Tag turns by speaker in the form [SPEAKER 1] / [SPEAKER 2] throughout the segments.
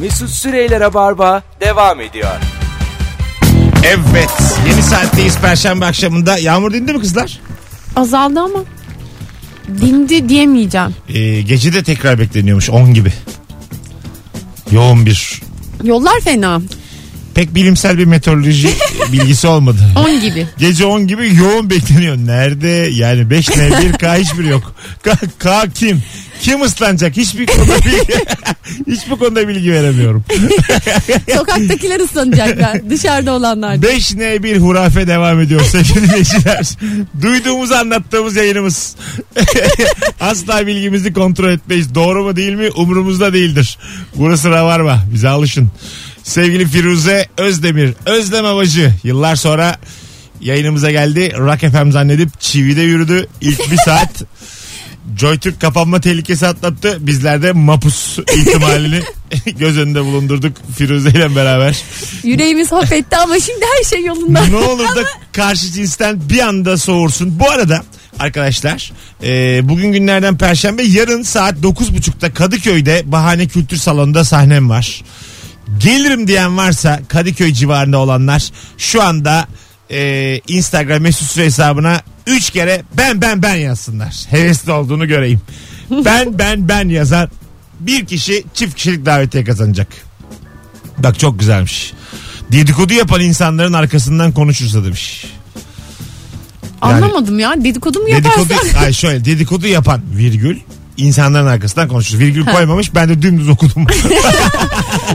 [SPEAKER 1] Mesut Süreyler'e barba devam ediyor.
[SPEAKER 2] Evet. Yeni saatteyiz Perşembe akşamında. Yağmur dindi mi kızlar?
[SPEAKER 3] Azaldı ama dindi diyemeyeceğim.
[SPEAKER 2] Ee, gece de tekrar bekleniyormuş 10 gibi. Yoğun bir.
[SPEAKER 3] Yollar fena.
[SPEAKER 2] Pek bilimsel bir meteoroloji bilgisi olmadı.
[SPEAKER 3] 10 gibi.
[SPEAKER 2] Gece 10 gibi yoğun bekleniyor. Nerede? Yani 5 ne 1 K hiçbir yok. K, K kim? Kim ıslanacak? Hiçbir konuda bilgi, hiçbir konuda bilgi veremiyorum.
[SPEAKER 3] Sokaktakiler ıslanacaklar. Dışarıda olanlar.
[SPEAKER 2] 5 ne 1 hurafe devam ediyor sevgili dinleyiciler. Duyduğumuz anlattığımız yayınımız. Asla bilgimizi kontrol etmeyiz. Doğru mu değil mi umurumuzda değildir. Burası Ravarma. Bize alışın. Sevgili Firuze Özdemir. Özlem Avacı. Yıllar sonra yayınımıza geldi. Rock FM zannedip çivide yürüdü. İlk bir saat Joytürk kapanma tehlikesi atlattı. Bizler de mapus ihtimalini göz önünde bulundurduk Firuze ile beraber.
[SPEAKER 3] Yüreğimiz hop etti ama şimdi her şey yolunda.
[SPEAKER 2] ne olur da karşı cinsten bir anda soğursun. Bu arada arkadaşlar e, bugün günlerden perşembe yarın saat 9.30'da Kadıköy'de Bahane Kültür Salonu'nda sahnem var. Gelirim diyen varsa Kadıköy civarında olanlar şu anda e, Instagram mesut süre hesabına 3 kere ben ben ben yazsınlar. Hevesli olduğunu göreyim. Ben ben ben yazan bir kişi çift kişilik davetiye kazanacak. Bak çok güzelmiş. Dedikodu yapan insanların arkasından konuşursa demiş. Yani-
[SPEAKER 3] Anlamadım ya dedikodu mu yaparsan?
[SPEAKER 2] Dedikodu, ay şöyle dedikodu yapan virgül insanların arkasından konuşur. Virgül koymamış ben de dümdüz okudum.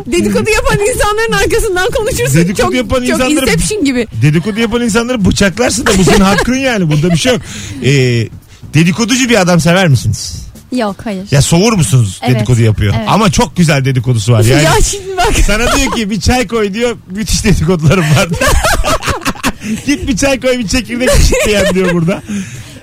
[SPEAKER 3] dedikodu yapan insanların arkasından konuşursun.
[SPEAKER 2] Dedikodu
[SPEAKER 3] çok,
[SPEAKER 2] yapan
[SPEAKER 3] çok
[SPEAKER 2] insanları-
[SPEAKER 3] Inception gibi.
[SPEAKER 2] dedikodu yapan insanları bıçaklarsın da bu senin hakkın yani bunda bir şey yok. Ee, dedikoducu bir adam sever misiniz?
[SPEAKER 3] Yok hayır.
[SPEAKER 2] Ya soğur musunuz
[SPEAKER 3] Evet,
[SPEAKER 2] dedikodu yapıyor?
[SPEAKER 3] evet.
[SPEAKER 2] Ama çok güzel dedikodusu var. Yani
[SPEAKER 3] ya şimdi bak.
[SPEAKER 2] Sana diyor ki bir çay koy diyor. Müthiş dedikodularım var. Git bir çay koy bir çekirdek pişit diyen diyor burada.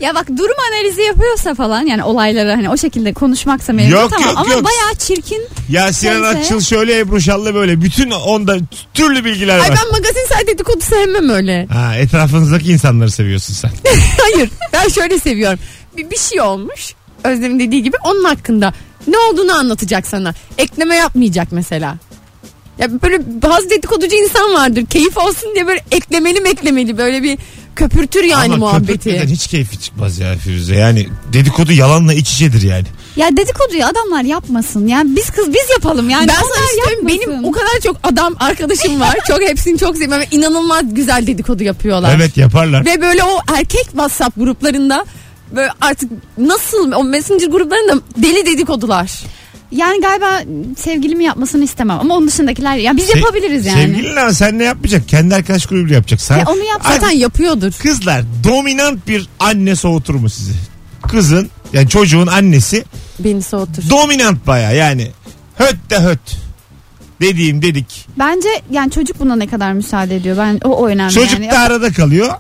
[SPEAKER 4] Ya bak durum analizi yapıyorsa falan yani olayları hani o şekilde konuşmaksa mevzu
[SPEAKER 2] Yok,
[SPEAKER 4] tamam
[SPEAKER 2] yok,
[SPEAKER 4] ama
[SPEAKER 2] yok.
[SPEAKER 4] bayağı çirkin.
[SPEAKER 2] Ya Sinan
[SPEAKER 4] Neyse.
[SPEAKER 2] Akçıl şöyle Ebru Şallı böyle. Bütün onda türlü bilgiler var.
[SPEAKER 3] Ay ben magazin say dedikodu sevmem öyle.
[SPEAKER 2] Ha, etrafınızdaki insanları seviyorsun sen.
[SPEAKER 3] Hayır ben şöyle seviyorum. Bir, bir şey olmuş Özlem'in dediği gibi onun hakkında ne olduğunu anlatacak sana. Ekleme yapmayacak mesela. Ya böyle bazı dedikoducu insan vardır. Keyif olsun diye böyle eklemeli meklemeli böyle bir köpürtür yani
[SPEAKER 2] Ama köpürtmeden
[SPEAKER 3] muhabbeti.
[SPEAKER 2] hiç keyfi çıkmaz ya Firuze. Yani dedikodu yalanla iç içedir yani.
[SPEAKER 4] Ya dedikoduyu adamlar yapmasın. Yani biz kız biz yapalım yani.
[SPEAKER 3] ben
[SPEAKER 4] Onlar
[SPEAKER 3] sana şey istiyorum
[SPEAKER 4] yapmasın.
[SPEAKER 3] benim o kadar çok adam arkadaşım var. çok hepsini çok seviyorum. ve İnanılmaz güzel dedikodu yapıyorlar.
[SPEAKER 2] Evet yaparlar.
[SPEAKER 3] Ve böyle o erkek WhatsApp gruplarında böyle artık nasıl o messenger gruplarında deli dedikodular.
[SPEAKER 4] Yani galiba sevgilimi yapmasını istemem ama onun dışındakiler ya biz
[SPEAKER 2] Se-
[SPEAKER 4] yapabiliriz yani.
[SPEAKER 2] Sevgilin ama sen ne yapmayacak? Kendi arkadaş grubuyla yapacak. Sen,
[SPEAKER 4] Ya onu yapsa-
[SPEAKER 2] Ay,
[SPEAKER 3] Zaten yapıyordur.
[SPEAKER 2] Kızlar dominant bir anne soğutur mu sizi? Kızın yani çocuğun annesi
[SPEAKER 3] Beni soğutur.
[SPEAKER 2] dominant baya yani höt de höt dediğim dedik.
[SPEAKER 4] Bence yani çocuk buna ne kadar müsaade ediyor. Ben o, o önemli
[SPEAKER 2] Çocuk
[SPEAKER 4] yani.
[SPEAKER 2] da arada kalıyor.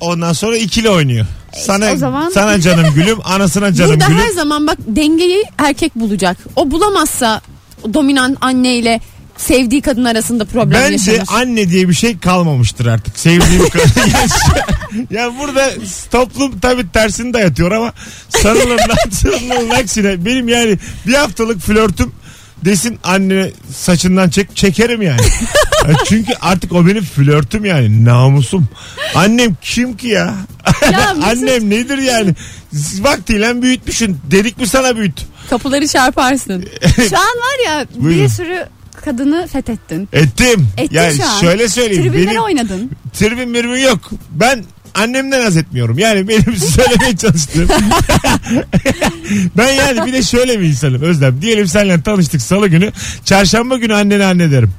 [SPEAKER 2] Ondan sonra ikili oynuyor. Sana
[SPEAKER 4] E, o zaman-
[SPEAKER 2] sana canım gülüm, anasına canım
[SPEAKER 3] Burada
[SPEAKER 2] gülüm.
[SPEAKER 3] her zaman bak dengeyi erkek bulacak. O bulamazsa o dominant anneyle sevdiği kadın arasında problem
[SPEAKER 2] Bence
[SPEAKER 3] yaşanır.
[SPEAKER 2] anne diye bir şey kalmamıştır artık. Sevdiğim kadar. ya burada toplum tabii tersini dayatıyor ama sarılın lan, sarılın aksine. Benim yani bir haftalık flörtüm desin anne saçından çek çekerim yani. Ya Çünkü artık o benim flörtüm yani namusum. Annem kim ki ya? Annem nedir yani? Vaktiyle büyütmüşsün. Dedik mi sana büyüt?
[SPEAKER 3] Kapıları çarparsın.
[SPEAKER 2] Ee,
[SPEAKER 4] Şu an var ya
[SPEAKER 2] Buyurun.
[SPEAKER 4] bir sürü kadını fethettin.
[SPEAKER 2] Ettim.
[SPEAKER 4] Ettin
[SPEAKER 2] yani
[SPEAKER 4] şu an.
[SPEAKER 2] şöyle söyleyeyim.
[SPEAKER 4] Tribünlere
[SPEAKER 2] benim-
[SPEAKER 4] oynadın.
[SPEAKER 2] Tribün birbiri yok. Ben annemden haz etmiyorum. Yani benim söylemeye çalıştığım. ben yani bir de şöyle bir insanım Özlem. Diyelim seninle tanıştık salı günü. Çarşamba günü annene anne derim.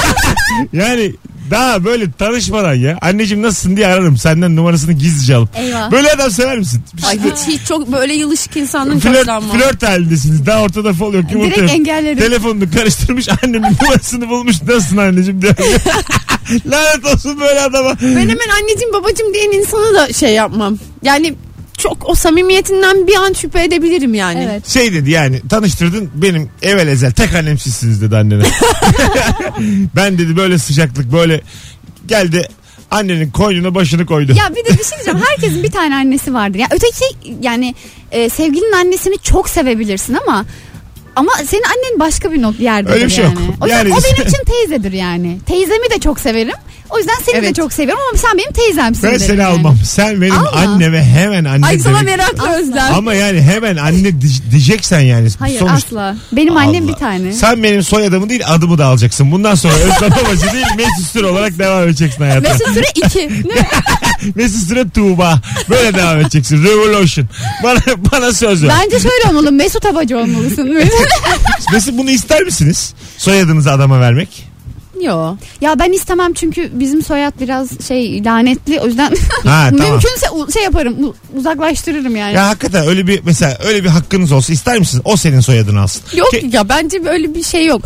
[SPEAKER 2] yani daha böyle tanışmadan ya. Anneciğim nasılsın diye ararım. Senden numarasını gizlice alıp.
[SPEAKER 4] Eyvah.
[SPEAKER 2] Böyle adam sever misin?
[SPEAKER 3] Ay hiç, hiç çok böyle yılışık insanın
[SPEAKER 2] Flört,
[SPEAKER 3] hoşlanmam.
[SPEAKER 2] flört halindesiniz. Daha ortada fol yok. yumurta yok.
[SPEAKER 4] Direkt engellerim.
[SPEAKER 2] Telefonunu karıştırmış annemin numarasını bulmuş. Nasılsın anneciğim diyor. Lanet olsun böyle adama.
[SPEAKER 3] Ben hemen anneciğim babacığım diyen insana da şey yapmam. Yani çok o samimiyetinden bir an şüphe edebilirim yani.
[SPEAKER 4] Evet.
[SPEAKER 2] Şey dedi yani tanıştırdın benim evvel ezel tek annem sizsiniz dedi annene. ben dedi böyle sıcaklık böyle geldi annenin koynuna başını koydu.
[SPEAKER 4] Ya bir de bir şey diyeceğim. Herkesin bir tane annesi vardır. Ya öteki yani e, sevgilinin annesini çok sevebilirsin ama Ama senin annen başka bir not yerde.
[SPEAKER 2] Öyle bir şey
[SPEAKER 4] yani.
[SPEAKER 2] yok.
[SPEAKER 4] O, yüzden
[SPEAKER 2] Yani-
[SPEAKER 4] o benim için teyzedir yani. Teyzemi de çok severim. O yüzden seni de
[SPEAKER 3] Evet.
[SPEAKER 4] çok seviyorum ama sen benim teyzemsin.
[SPEAKER 2] Ben
[SPEAKER 4] derim
[SPEAKER 2] seni
[SPEAKER 4] yani.
[SPEAKER 2] almam. Sen benim
[SPEAKER 4] Alma.
[SPEAKER 2] anneme hemen anne
[SPEAKER 3] Ay sana
[SPEAKER 2] demek-
[SPEAKER 3] meraklı Özlem.
[SPEAKER 2] Ama yani hemen anne di- diyeceksen yani.
[SPEAKER 4] Hayır
[SPEAKER 2] Sonuçta-
[SPEAKER 4] asla. Benim annem
[SPEAKER 2] Allah.
[SPEAKER 4] bir tane.
[SPEAKER 2] Sen benim soyadımı değil adımı da alacaksın. Bundan sonra Özlem Babacı değil Mesut Süre olarak devam edeceksin hayata. Mesut,
[SPEAKER 4] Mesut Süre 2.
[SPEAKER 2] Süre Tuğba. Böyle devam edeceksin. Revolution. Bana, bana söz ver.
[SPEAKER 4] Bence şöyle olmalı. Mesut Abacı olmalısın.
[SPEAKER 2] Mesut bunu ister misiniz? Soyadınızı adama vermek.
[SPEAKER 3] Yo.
[SPEAKER 4] ya ben istemem çünkü bizim soyad biraz şey lanetli. O yüzden
[SPEAKER 2] Ha tamam.
[SPEAKER 4] mümkünse u- şey yaparım. u- Uzaklaştırırım yani.
[SPEAKER 2] Ya hakikaten öyle bir mesela öyle bir hakkınız olsa ister misiniz? O senin soyadını alsın.
[SPEAKER 3] Yok
[SPEAKER 2] Ki,
[SPEAKER 3] ya bence böyle bir şey yok.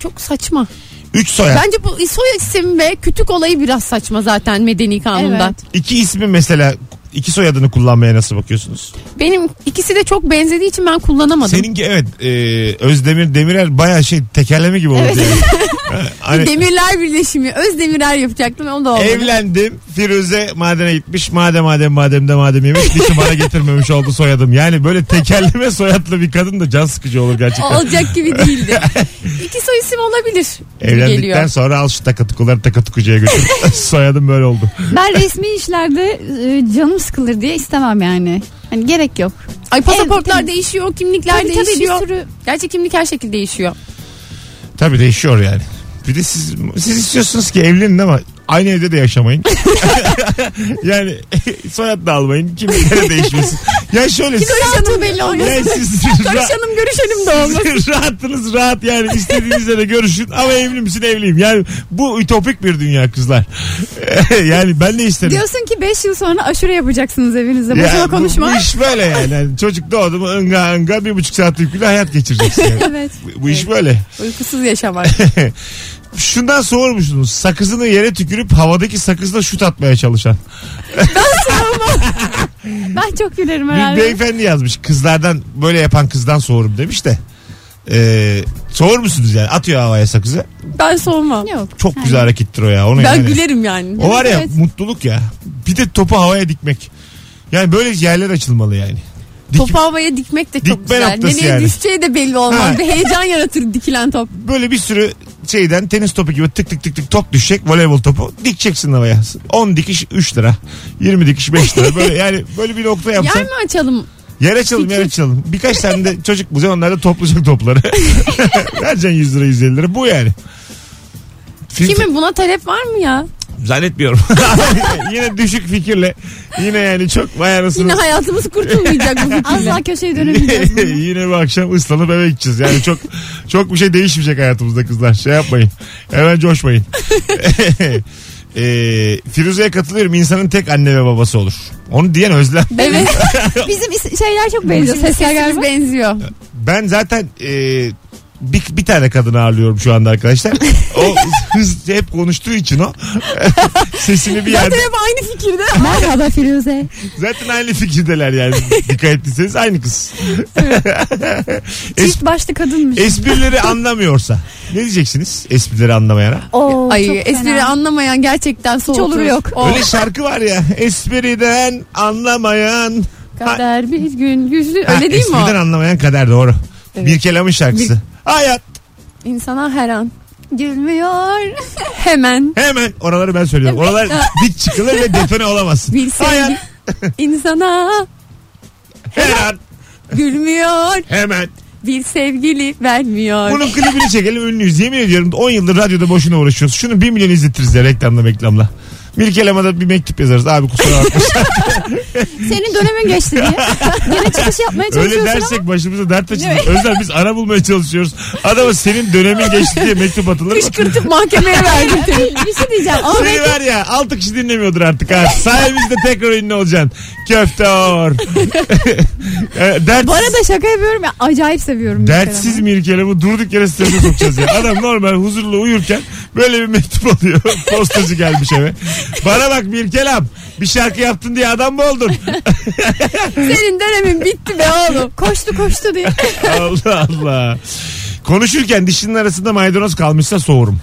[SPEAKER 3] Çok saçma.
[SPEAKER 2] üç soyad.
[SPEAKER 3] Bence bu soy isim ve kütük olayı biraz saçma zaten medeni kanunda.
[SPEAKER 4] Evet.
[SPEAKER 2] İki ismi mesela iki soyadını kullanmaya nasıl bakıyorsunuz?
[SPEAKER 3] Benim ikisi de çok benzediği için ben kullanamadım.
[SPEAKER 2] Seninki evet e, Özdemir Demirer baya şey tekerleme gibi oldu. yani. Hani-
[SPEAKER 3] Demirler birleşimi. Özdemirer yapacaktım o da olmadı.
[SPEAKER 2] Evlendim. Firuze madene gitmiş. Madem madem madem de madem yemiş. Dişi bana getirmemiş oldu soyadım. Yani böyle tekerleme soyadlı bir kadın da can sıkıcı olur gerçekten.
[SPEAKER 3] Olacak gibi değildi. İki soy isim olabilir. gibi
[SPEAKER 2] Evlendikten
[SPEAKER 3] Geliyor.
[SPEAKER 2] sonra al şu takatukuları takatukucuya götür. soyadım böyle oldu.
[SPEAKER 4] Ben resmi işlerde e, canım sıkılır diye istemem yani. Hani gerek yok.
[SPEAKER 3] Ay pasaportlar
[SPEAKER 4] Ev-
[SPEAKER 3] değişiyor, kimlikler
[SPEAKER 4] Tabii, tabii, bir
[SPEAKER 3] değişiyor.
[SPEAKER 4] sürü-
[SPEAKER 3] Gerçi kimlik her şekilde değişiyor.
[SPEAKER 2] Tabii değişiyor yani. Bir de siz, siz istiyorsunuz ki evlenin ama aynı evde de yaşamayın. yani soyad da almayın. Kimlikleri de değişmesin. Ya şöyle siz,
[SPEAKER 3] Karışanım belli olmaz.
[SPEAKER 2] yani siz,
[SPEAKER 3] Karışanım görüşenim de olmaz.
[SPEAKER 2] Sizin rahatınız rahat yani istediğinizle de görüşün ama evli misin evliyim. Yani bu ütopik bir dünya kızlar. yani ben de isterim.
[SPEAKER 4] Diyorsun ki 5 yıl sonra aşure yapacaksınız evinizde.
[SPEAKER 2] Ya
[SPEAKER 4] Boşuna
[SPEAKER 2] bu-
[SPEAKER 4] konuşma.
[SPEAKER 2] Bu iş böyle yani. Yani çocuk doğdu mu ınga ınga bir buçuk saatlik bir hayat geçireceksin. yani.
[SPEAKER 4] evet.
[SPEAKER 2] bu, bu iş böyle.
[SPEAKER 3] Uykusuz yaşamak.
[SPEAKER 2] Şundan sormuşsunuz. Sakızını yere tükürüp havadaki sakızla şut atmaya çalışan.
[SPEAKER 4] Ben çok gülerim
[SPEAKER 2] Bir
[SPEAKER 4] herhalde.
[SPEAKER 2] beyefendi yazmış. Kızlardan böyle yapan kızdan soğurum demiş de. Ee, soğur musunuz yani? Atıyor havaya sakızı.
[SPEAKER 3] ben soğumam.
[SPEAKER 4] Yok.
[SPEAKER 2] Çok
[SPEAKER 4] Yani.
[SPEAKER 2] güzel harekettir o ya. Onu
[SPEAKER 3] Ben
[SPEAKER 2] yani.
[SPEAKER 3] gülerim yani.
[SPEAKER 2] O var ya
[SPEAKER 4] Evet.
[SPEAKER 2] mutluluk ya. Bir de topu havaya dikmek. Yani böyle yerler açılmalı yani. Dikip,
[SPEAKER 3] Topu havaya dikmek de çok
[SPEAKER 2] Dikme
[SPEAKER 3] güzel.
[SPEAKER 2] noktası
[SPEAKER 3] Nereye
[SPEAKER 2] yani.
[SPEAKER 3] düşeceği de belli olmaz.
[SPEAKER 2] Ha.
[SPEAKER 3] Bir heyecan yaratır dikilen top.
[SPEAKER 2] Böyle bir sürü şeyden tenis topu gibi tık tık tık tık top düşecek voleybol topu dikeceksin havaya. 10 dikiş 3 lira. 20 dikiş 5 lira. Böyle yani böyle bir nokta yapsan.
[SPEAKER 3] Yer mi açalım?
[SPEAKER 2] Yer açalım yer açalım. Birkaç tane de çocuk bulacaksın onlar da toplayacak topları. Vereceksin 100 lira 150 lira bu yani. Filtre-
[SPEAKER 3] Kimin buna talep var mı ya?
[SPEAKER 2] Zannetmiyorum. yine düşük fikirle. Yine yani çok vay anasını.
[SPEAKER 3] Yine hayatımız kurtulmayacak bu fikirle.
[SPEAKER 4] Asla köşeye dönemeyeceğiz. bunu.
[SPEAKER 2] Yine bu akşam ıslanıp eve gideceğiz. Yani çok çok bir şey değişmeyecek hayatımızda kızlar. Şey yapmayın. Hemen coşmayın. e, Firuze'ye katılıyorum. İnsanın tek anne ve babası olur. Onu diyen Özlem.
[SPEAKER 3] evet.
[SPEAKER 4] Bizim is- şeyler çok benziyor.
[SPEAKER 3] Bizim
[SPEAKER 4] Sesler
[SPEAKER 3] sesimiz
[SPEAKER 4] galiba.
[SPEAKER 3] benziyor.
[SPEAKER 2] Ben zaten e, bir, bir tane kadın ağırlıyorum şu anda arkadaşlar. O hız hep konuştuğu için o. Sesini bir yerde.
[SPEAKER 3] Zaten hep aynı fikirde.
[SPEAKER 4] Merhaba Firuze.
[SPEAKER 2] Zaten aynı fikirdeler yani. Dikkat ettiyseniz aynı kız. Es,
[SPEAKER 4] Çift başlı kadınmış.
[SPEAKER 2] esprileri anlamıyorsa. Ne diyeceksiniz esprileri anlamayana?
[SPEAKER 4] Oo,
[SPEAKER 3] Ay
[SPEAKER 4] çok
[SPEAKER 3] espri
[SPEAKER 4] fena.
[SPEAKER 3] anlamayan gerçekten soğutur.
[SPEAKER 4] olur yok.
[SPEAKER 3] O
[SPEAKER 2] Öyle şarkı var ya. Espriden anlamayan. Ha,
[SPEAKER 3] kader bir gün güçlü.
[SPEAKER 2] ha,
[SPEAKER 3] Öyle değil mi
[SPEAKER 2] Espriden
[SPEAKER 3] o?
[SPEAKER 2] anlamayan kader doğru.
[SPEAKER 3] Evet.
[SPEAKER 2] Bir kelamın şarkısı. Hayat
[SPEAKER 3] İnsana her an.
[SPEAKER 4] Gülmüyor.
[SPEAKER 3] Hemen.
[SPEAKER 2] hemen oraları ben söylüyorum. Oralar dik çıkılır ve define olamazsın. Hayat
[SPEAKER 3] Bilseydim. insana
[SPEAKER 2] her an
[SPEAKER 3] gülmüyor.
[SPEAKER 2] hemen.
[SPEAKER 3] Bir sevgili vermiyor.
[SPEAKER 2] Bunun klibini çekelim ünlüyüz. Yemin ediyorum 10 yıldır radyoda boşuna uğraşıyoruz. Şunu 1 milyon izletiriz ya reklamla reklamla. Milk Elema'da bir mektup yazarız. Abi kusura bakma.
[SPEAKER 4] Senin dönemin geçti diye. Yine çıkış yapmaya çalışıyorsun
[SPEAKER 2] Öyle
[SPEAKER 4] ama.
[SPEAKER 2] dersek başımıza dert açılır. Özlem biz ara bulmaya çalışıyoruz. Adama senin dönemin geçti diye mektup atılır mı?
[SPEAKER 3] Kışkırtıp mahkemeye verdim.
[SPEAKER 4] bir şey diyeceğim. Ama
[SPEAKER 2] Seni var ya 6 kişi dinlemiyordur artık ha. Sayemizde tekrar ünlü olacaksın. Köftor. E, dert,
[SPEAKER 4] bu arada şaka yapıyorum ya. Acayip seviyorum.
[SPEAKER 2] dertsiz Mirkel'e bu durduk yere strese sokacağız ya. Adam normal huzurlu uyurken böyle bir mektup alıyor. Postacı gelmiş eve. Bana bak Mirkel'am bir şarkı yaptın diye adam mı oldun?
[SPEAKER 3] Senin dönemin bitti be oğlum. Koştu koştu diye.
[SPEAKER 2] Allah Allah. Konuşurken dişinin arasında maydanoz kalmışsa soğurum.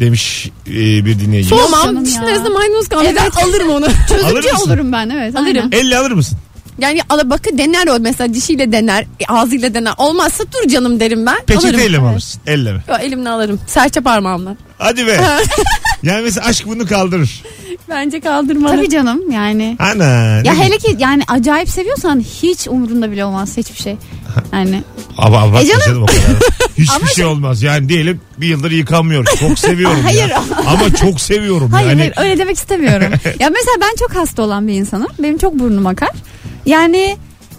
[SPEAKER 2] Demiş e, bir dinleyici.
[SPEAKER 4] Yok canım
[SPEAKER 3] Tamam dişin
[SPEAKER 4] ya.
[SPEAKER 3] arasında maydanoz kalmış.
[SPEAKER 4] Evet.
[SPEAKER 3] Ben alırım onu.
[SPEAKER 2] Alır
[SPEAKER 4] Çözümcü
[SPEAKER 2] mısın?
[SPEAKER 4] olurum ben evet.
[SPEAKER 3] Alırım.
[SPEAKER 4] aynen.
[SPEAKER 2] Elle alır mısın?
[SPEAKER 3] Yani alabaka dener o mesela dişiyle dener, e, ağzıyla dener. Olmazsa dur canım derim ben. Alırım.
[SPEAKER 2] Peçeteyle mi alırsın? Elle mi?
[SPEAKER 3] Yo, elimle alırım. Serçe parmağımla.
[SPEAKER 2] Hadi be. yani mesela aşk bunu kaldırır.
[SPEAKER 3] Bence kaldırmalı.
[SPEAKER 4] Tabii canım yani.
[SPEAKER 2] Ana. ne
[SPEAKER 4] Ya
[SPEAKER 2] güzel.
[SPEAKER 4] hele ki yani acayip seviyorsan hiç umurunda bile olmaz hiçbir şey. Yani
[SPEAKER 2] Ama abartma
[SPEAKER 4] E canım.
[SPEAKER 2] canım o kadar. Hiçbir
[SPEAKER 4] Ama
[SPEAKER 2] şey olmaz. Yani diyelim bir yıldır yıkamıyoruz. Çok seviyorum
[SPEAKER 4] Hayır.
[SPEAKER 2] ya. Ama çok seviyorum
[SPEAKER 4] hayır
[SPEAKER 2] yani.
[SPEAKER 4] hayır öyle demek istemiyorum. ya mesela ben çok hasta olan bir insanım. Benim çok burnum akar. Yani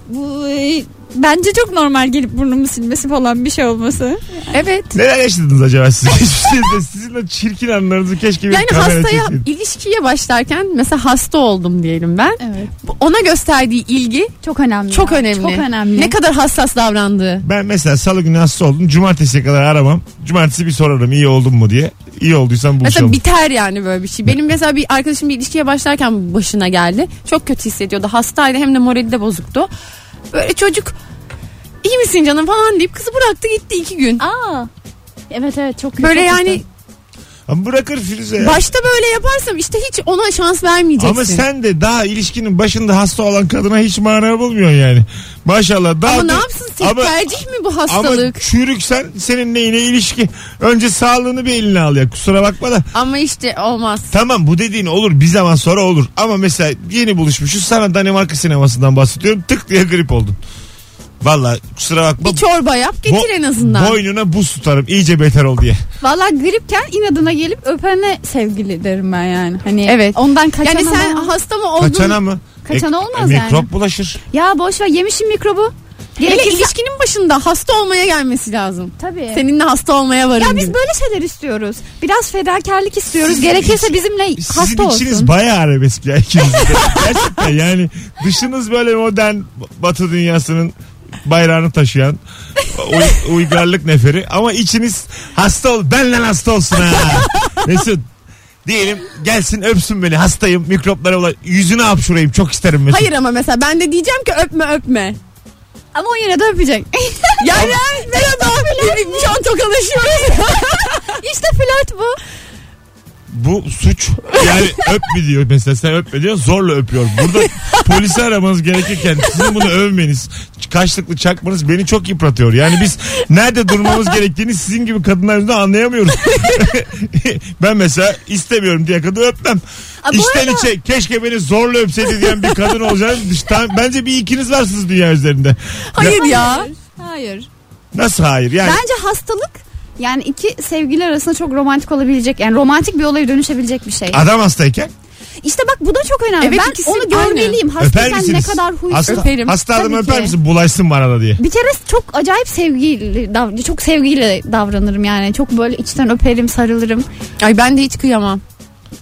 [SPEAKER 4] bu e, bence çok normal gelip burnumu silmesi falan bir şey olması.
[SPEAKER 3] Evet.
[SPEAKER 2] Neler yaşadınız acaba siz? Hiçbir şey de sizin o çirkin anlarınızı keşke bir
[SPEAKER 3] Yani
[SPEAKER 2] kamera
[SPEAKER 3] hastaya
[SPEAKER 2] çekseydi.
[SPEAKER 3] ilişkiye başlarken mesela hasta oldum diyelim ben.
[SPEAKER 4] Evet.
[SPEAKER 3] Bu- Ona gösterdiği ilgi
[SPEAKER 4] Çok önemli.
[SPEAKER 3] çok
[SPEAKER 4] ya.
[SPEAKER 3] önemli.
[SPEAKER 4] Çok önemli.
[SPEAKER 3] Ne kadar hassas davrandığı.
[SPEAKER 2] Ben mesela salı günü hasta oldum. Cumartesiye kadar aramam. Cumartesi bir sorarım iyi oldun mu diye. İyi olduysam buluşalım.
[SPEAKER 3] Mesela biter yani böyle bir şey. Benim mesela bir arkadaşım bir ilişkiye başlarken başına geldi. Çok kötü hissediyordu. Hastaydı hem de morali de bozuktu. Böyle çocuk iyi misin canım falan deyip kızı bıraktı gitti iki gün.
[SPEAKER 4] Aa. Evet evet çok
[SPEAKER 3] Böyle
[SPEAKER 4] çok
[SPEAKER 3] yani
[SPEAKER 2] Ama bırakır Firuze ya.
[SPEAKER 3] başta böyle yaparsam işte hiç ona şans vermeyeceksin.
[SPEAKER 2] Ama sen de daha ilişkinin başında hasta olan kadına hiç mana bulmuyorsun yani. Maşallah. Daha
[SPEAKER 3] Ama ne
[SPEAKER 2] da-
[SPEAKER 3] yapsın sen
[SPEAKER 2] Ama-
[SPEAKER 3] tercih mi bu
[SPEAKER 2] Ama
[SPEAKER 3] hastalık?
[SPEAKER 2] çürüksen senin neyine ilişki. Önce sağlığını bir eline al ya. Kusura bakma da.
[SPEAKER 3] Ama işte olmaz.
[SPEAKER 2] Tamam bu dediğin olur bir zaman sonra olur. Ama mesela yeni buluşmuşuz sana Danimarka sinemasından bahsediyorum. Tık diye grip oldun. Valla kusura bakma.
[SPEAKER 3] Bir çorba yap
[SPEAKER 2] Bo-
[SPEAKER 3] getir en azından.
[SPEAKER 2] Boynuna buz tutarım iyice beter ol diye.
[SPEAKER 4] Valla gripken inadına gelip öpene sevgili derim ben yani. Hani
[SPEAKER 3] Evet.
[SPEAKER 4] ondan kaçan
[SPEAKER 3] Yani sen
[SPEAKER 4] adam-
[SPEAKER 3] hasta mı oldun?
[SPEAKER 2] Kaçana mı? E,
[SPEAKER 4] Kaçana olmaz
[SPEAKER 2] mikrop
[SPEAKER 4] yani.
[SPEAKER 2] bulaşır.
[SPEAKER 4] ya boş ver yemişim mikrobu.
[SPEAKER 3] Hele
[SPEAKER 4] Gerekirse
[SPEAKER 3] ilişkinin başında hasta olmaya gelmesi lazım.
[SPEAKER 4] tabii.
[SPEAKER 3] Seninle hasta olmaya varım
[SPEAKER 4] ya biz
[SPEAKER 3] gibi.
[SPEAKER 4] böyle şeyler istiyoruz. Biraz fedakarlık istiyoruz. Gerekirse bizimle
[SPEAKER 2] Sizin
[SPEAKER 4] Şey, hasta
[SPEAKER 2] içiniz
[SPEAKER 4] olsun.
[SPEAKER 2] bayağı arabesk ya ikiniz de. Gerçekten yani dışınız böyle modern batı dünyasının bayrağını taşıyan uy- uygarlık neferi ama içiniz hasta ol benle hasta olsun ha. Mesut diyelim gelsin öpsün beni hastayım mikroplara ulaş yüzüne hapşurayım çok isterim Mesut.
[SPEAKER 3] Hayır ama mesela ben de diyeceğim ki öpme öpme.
[SPEAKER 4] Ama o yine de öpecek.
[SPEAKER 3] Yani merhaba. Biz Şu an tokalaşıyoruz.
[SPEAKER 4] işte flört bu.
[SPEAKER 2] Bu suç yani öpme diyor mesela sen öpme diyor zorla öpüyor. Burada polisi aramanız gerekirken sizin bunu övmeniz kaçlıklı çakmanız beni çok yıpratıyor. Yani biz nerede durmamız gerektiğini sizin gibi kadınlar yüzünden anlayamıyoruz. ben mesela istemiyorum diye kadını öpmem.
[SPEAKER 4] Aa, bu
[SPEAKER 2] İçten
[SPEAKER 4] arada-
[SPEAKER 2] içe keşke beni zorla öpseydi diyen bir kadın olacağını düşten, bence bir ikiniz varsınız dünya üzerinde.
[SPEAKER 3] Hayır ya.
[SPEAKER 4] Hayır. Hayır.
[SPEAKER 2] Nasıl hayır yani
[SPEAKER 4] Bence hastalık yani iki sevgili arasında çok romantik olabilecek yani romantik bir olaya dönüşebilecek bir şey.
[SPEAKER 2] adam hastayken
[SPEAKER 4] İşte bak bu da çok önemli.
[SPEAKER 3] Evet,
[SPEAKER 4] ben
[SPEAKER 3] ikisi
[SPEAKER 4] onu görmeliyim.
[SPEAKER 2] öper
[SPEAKER 4] Hastayken ne
[SPEAKER 2] misiniz?
[SPEAKER 4] kadar huysuz.
[SPEAKER 2] Hasta,
[SPEAKER 3] Öperim.
[SPEAKER 2] hasta adamı
[SPEAKER 4] Tabii
[SPEAKER 2] öper
[SPEAKER 4] ki.
[SPEAKER 2] misin bulaşsın bana da diye.
[SPEAKER 4] Bir kere çok acayip sevgiyle dav- çok sevgiyle davranırım yani. Çok böyle içten öperim, sarılırım.
[SPEAKER 3] Ay ben de hiç kıyamam.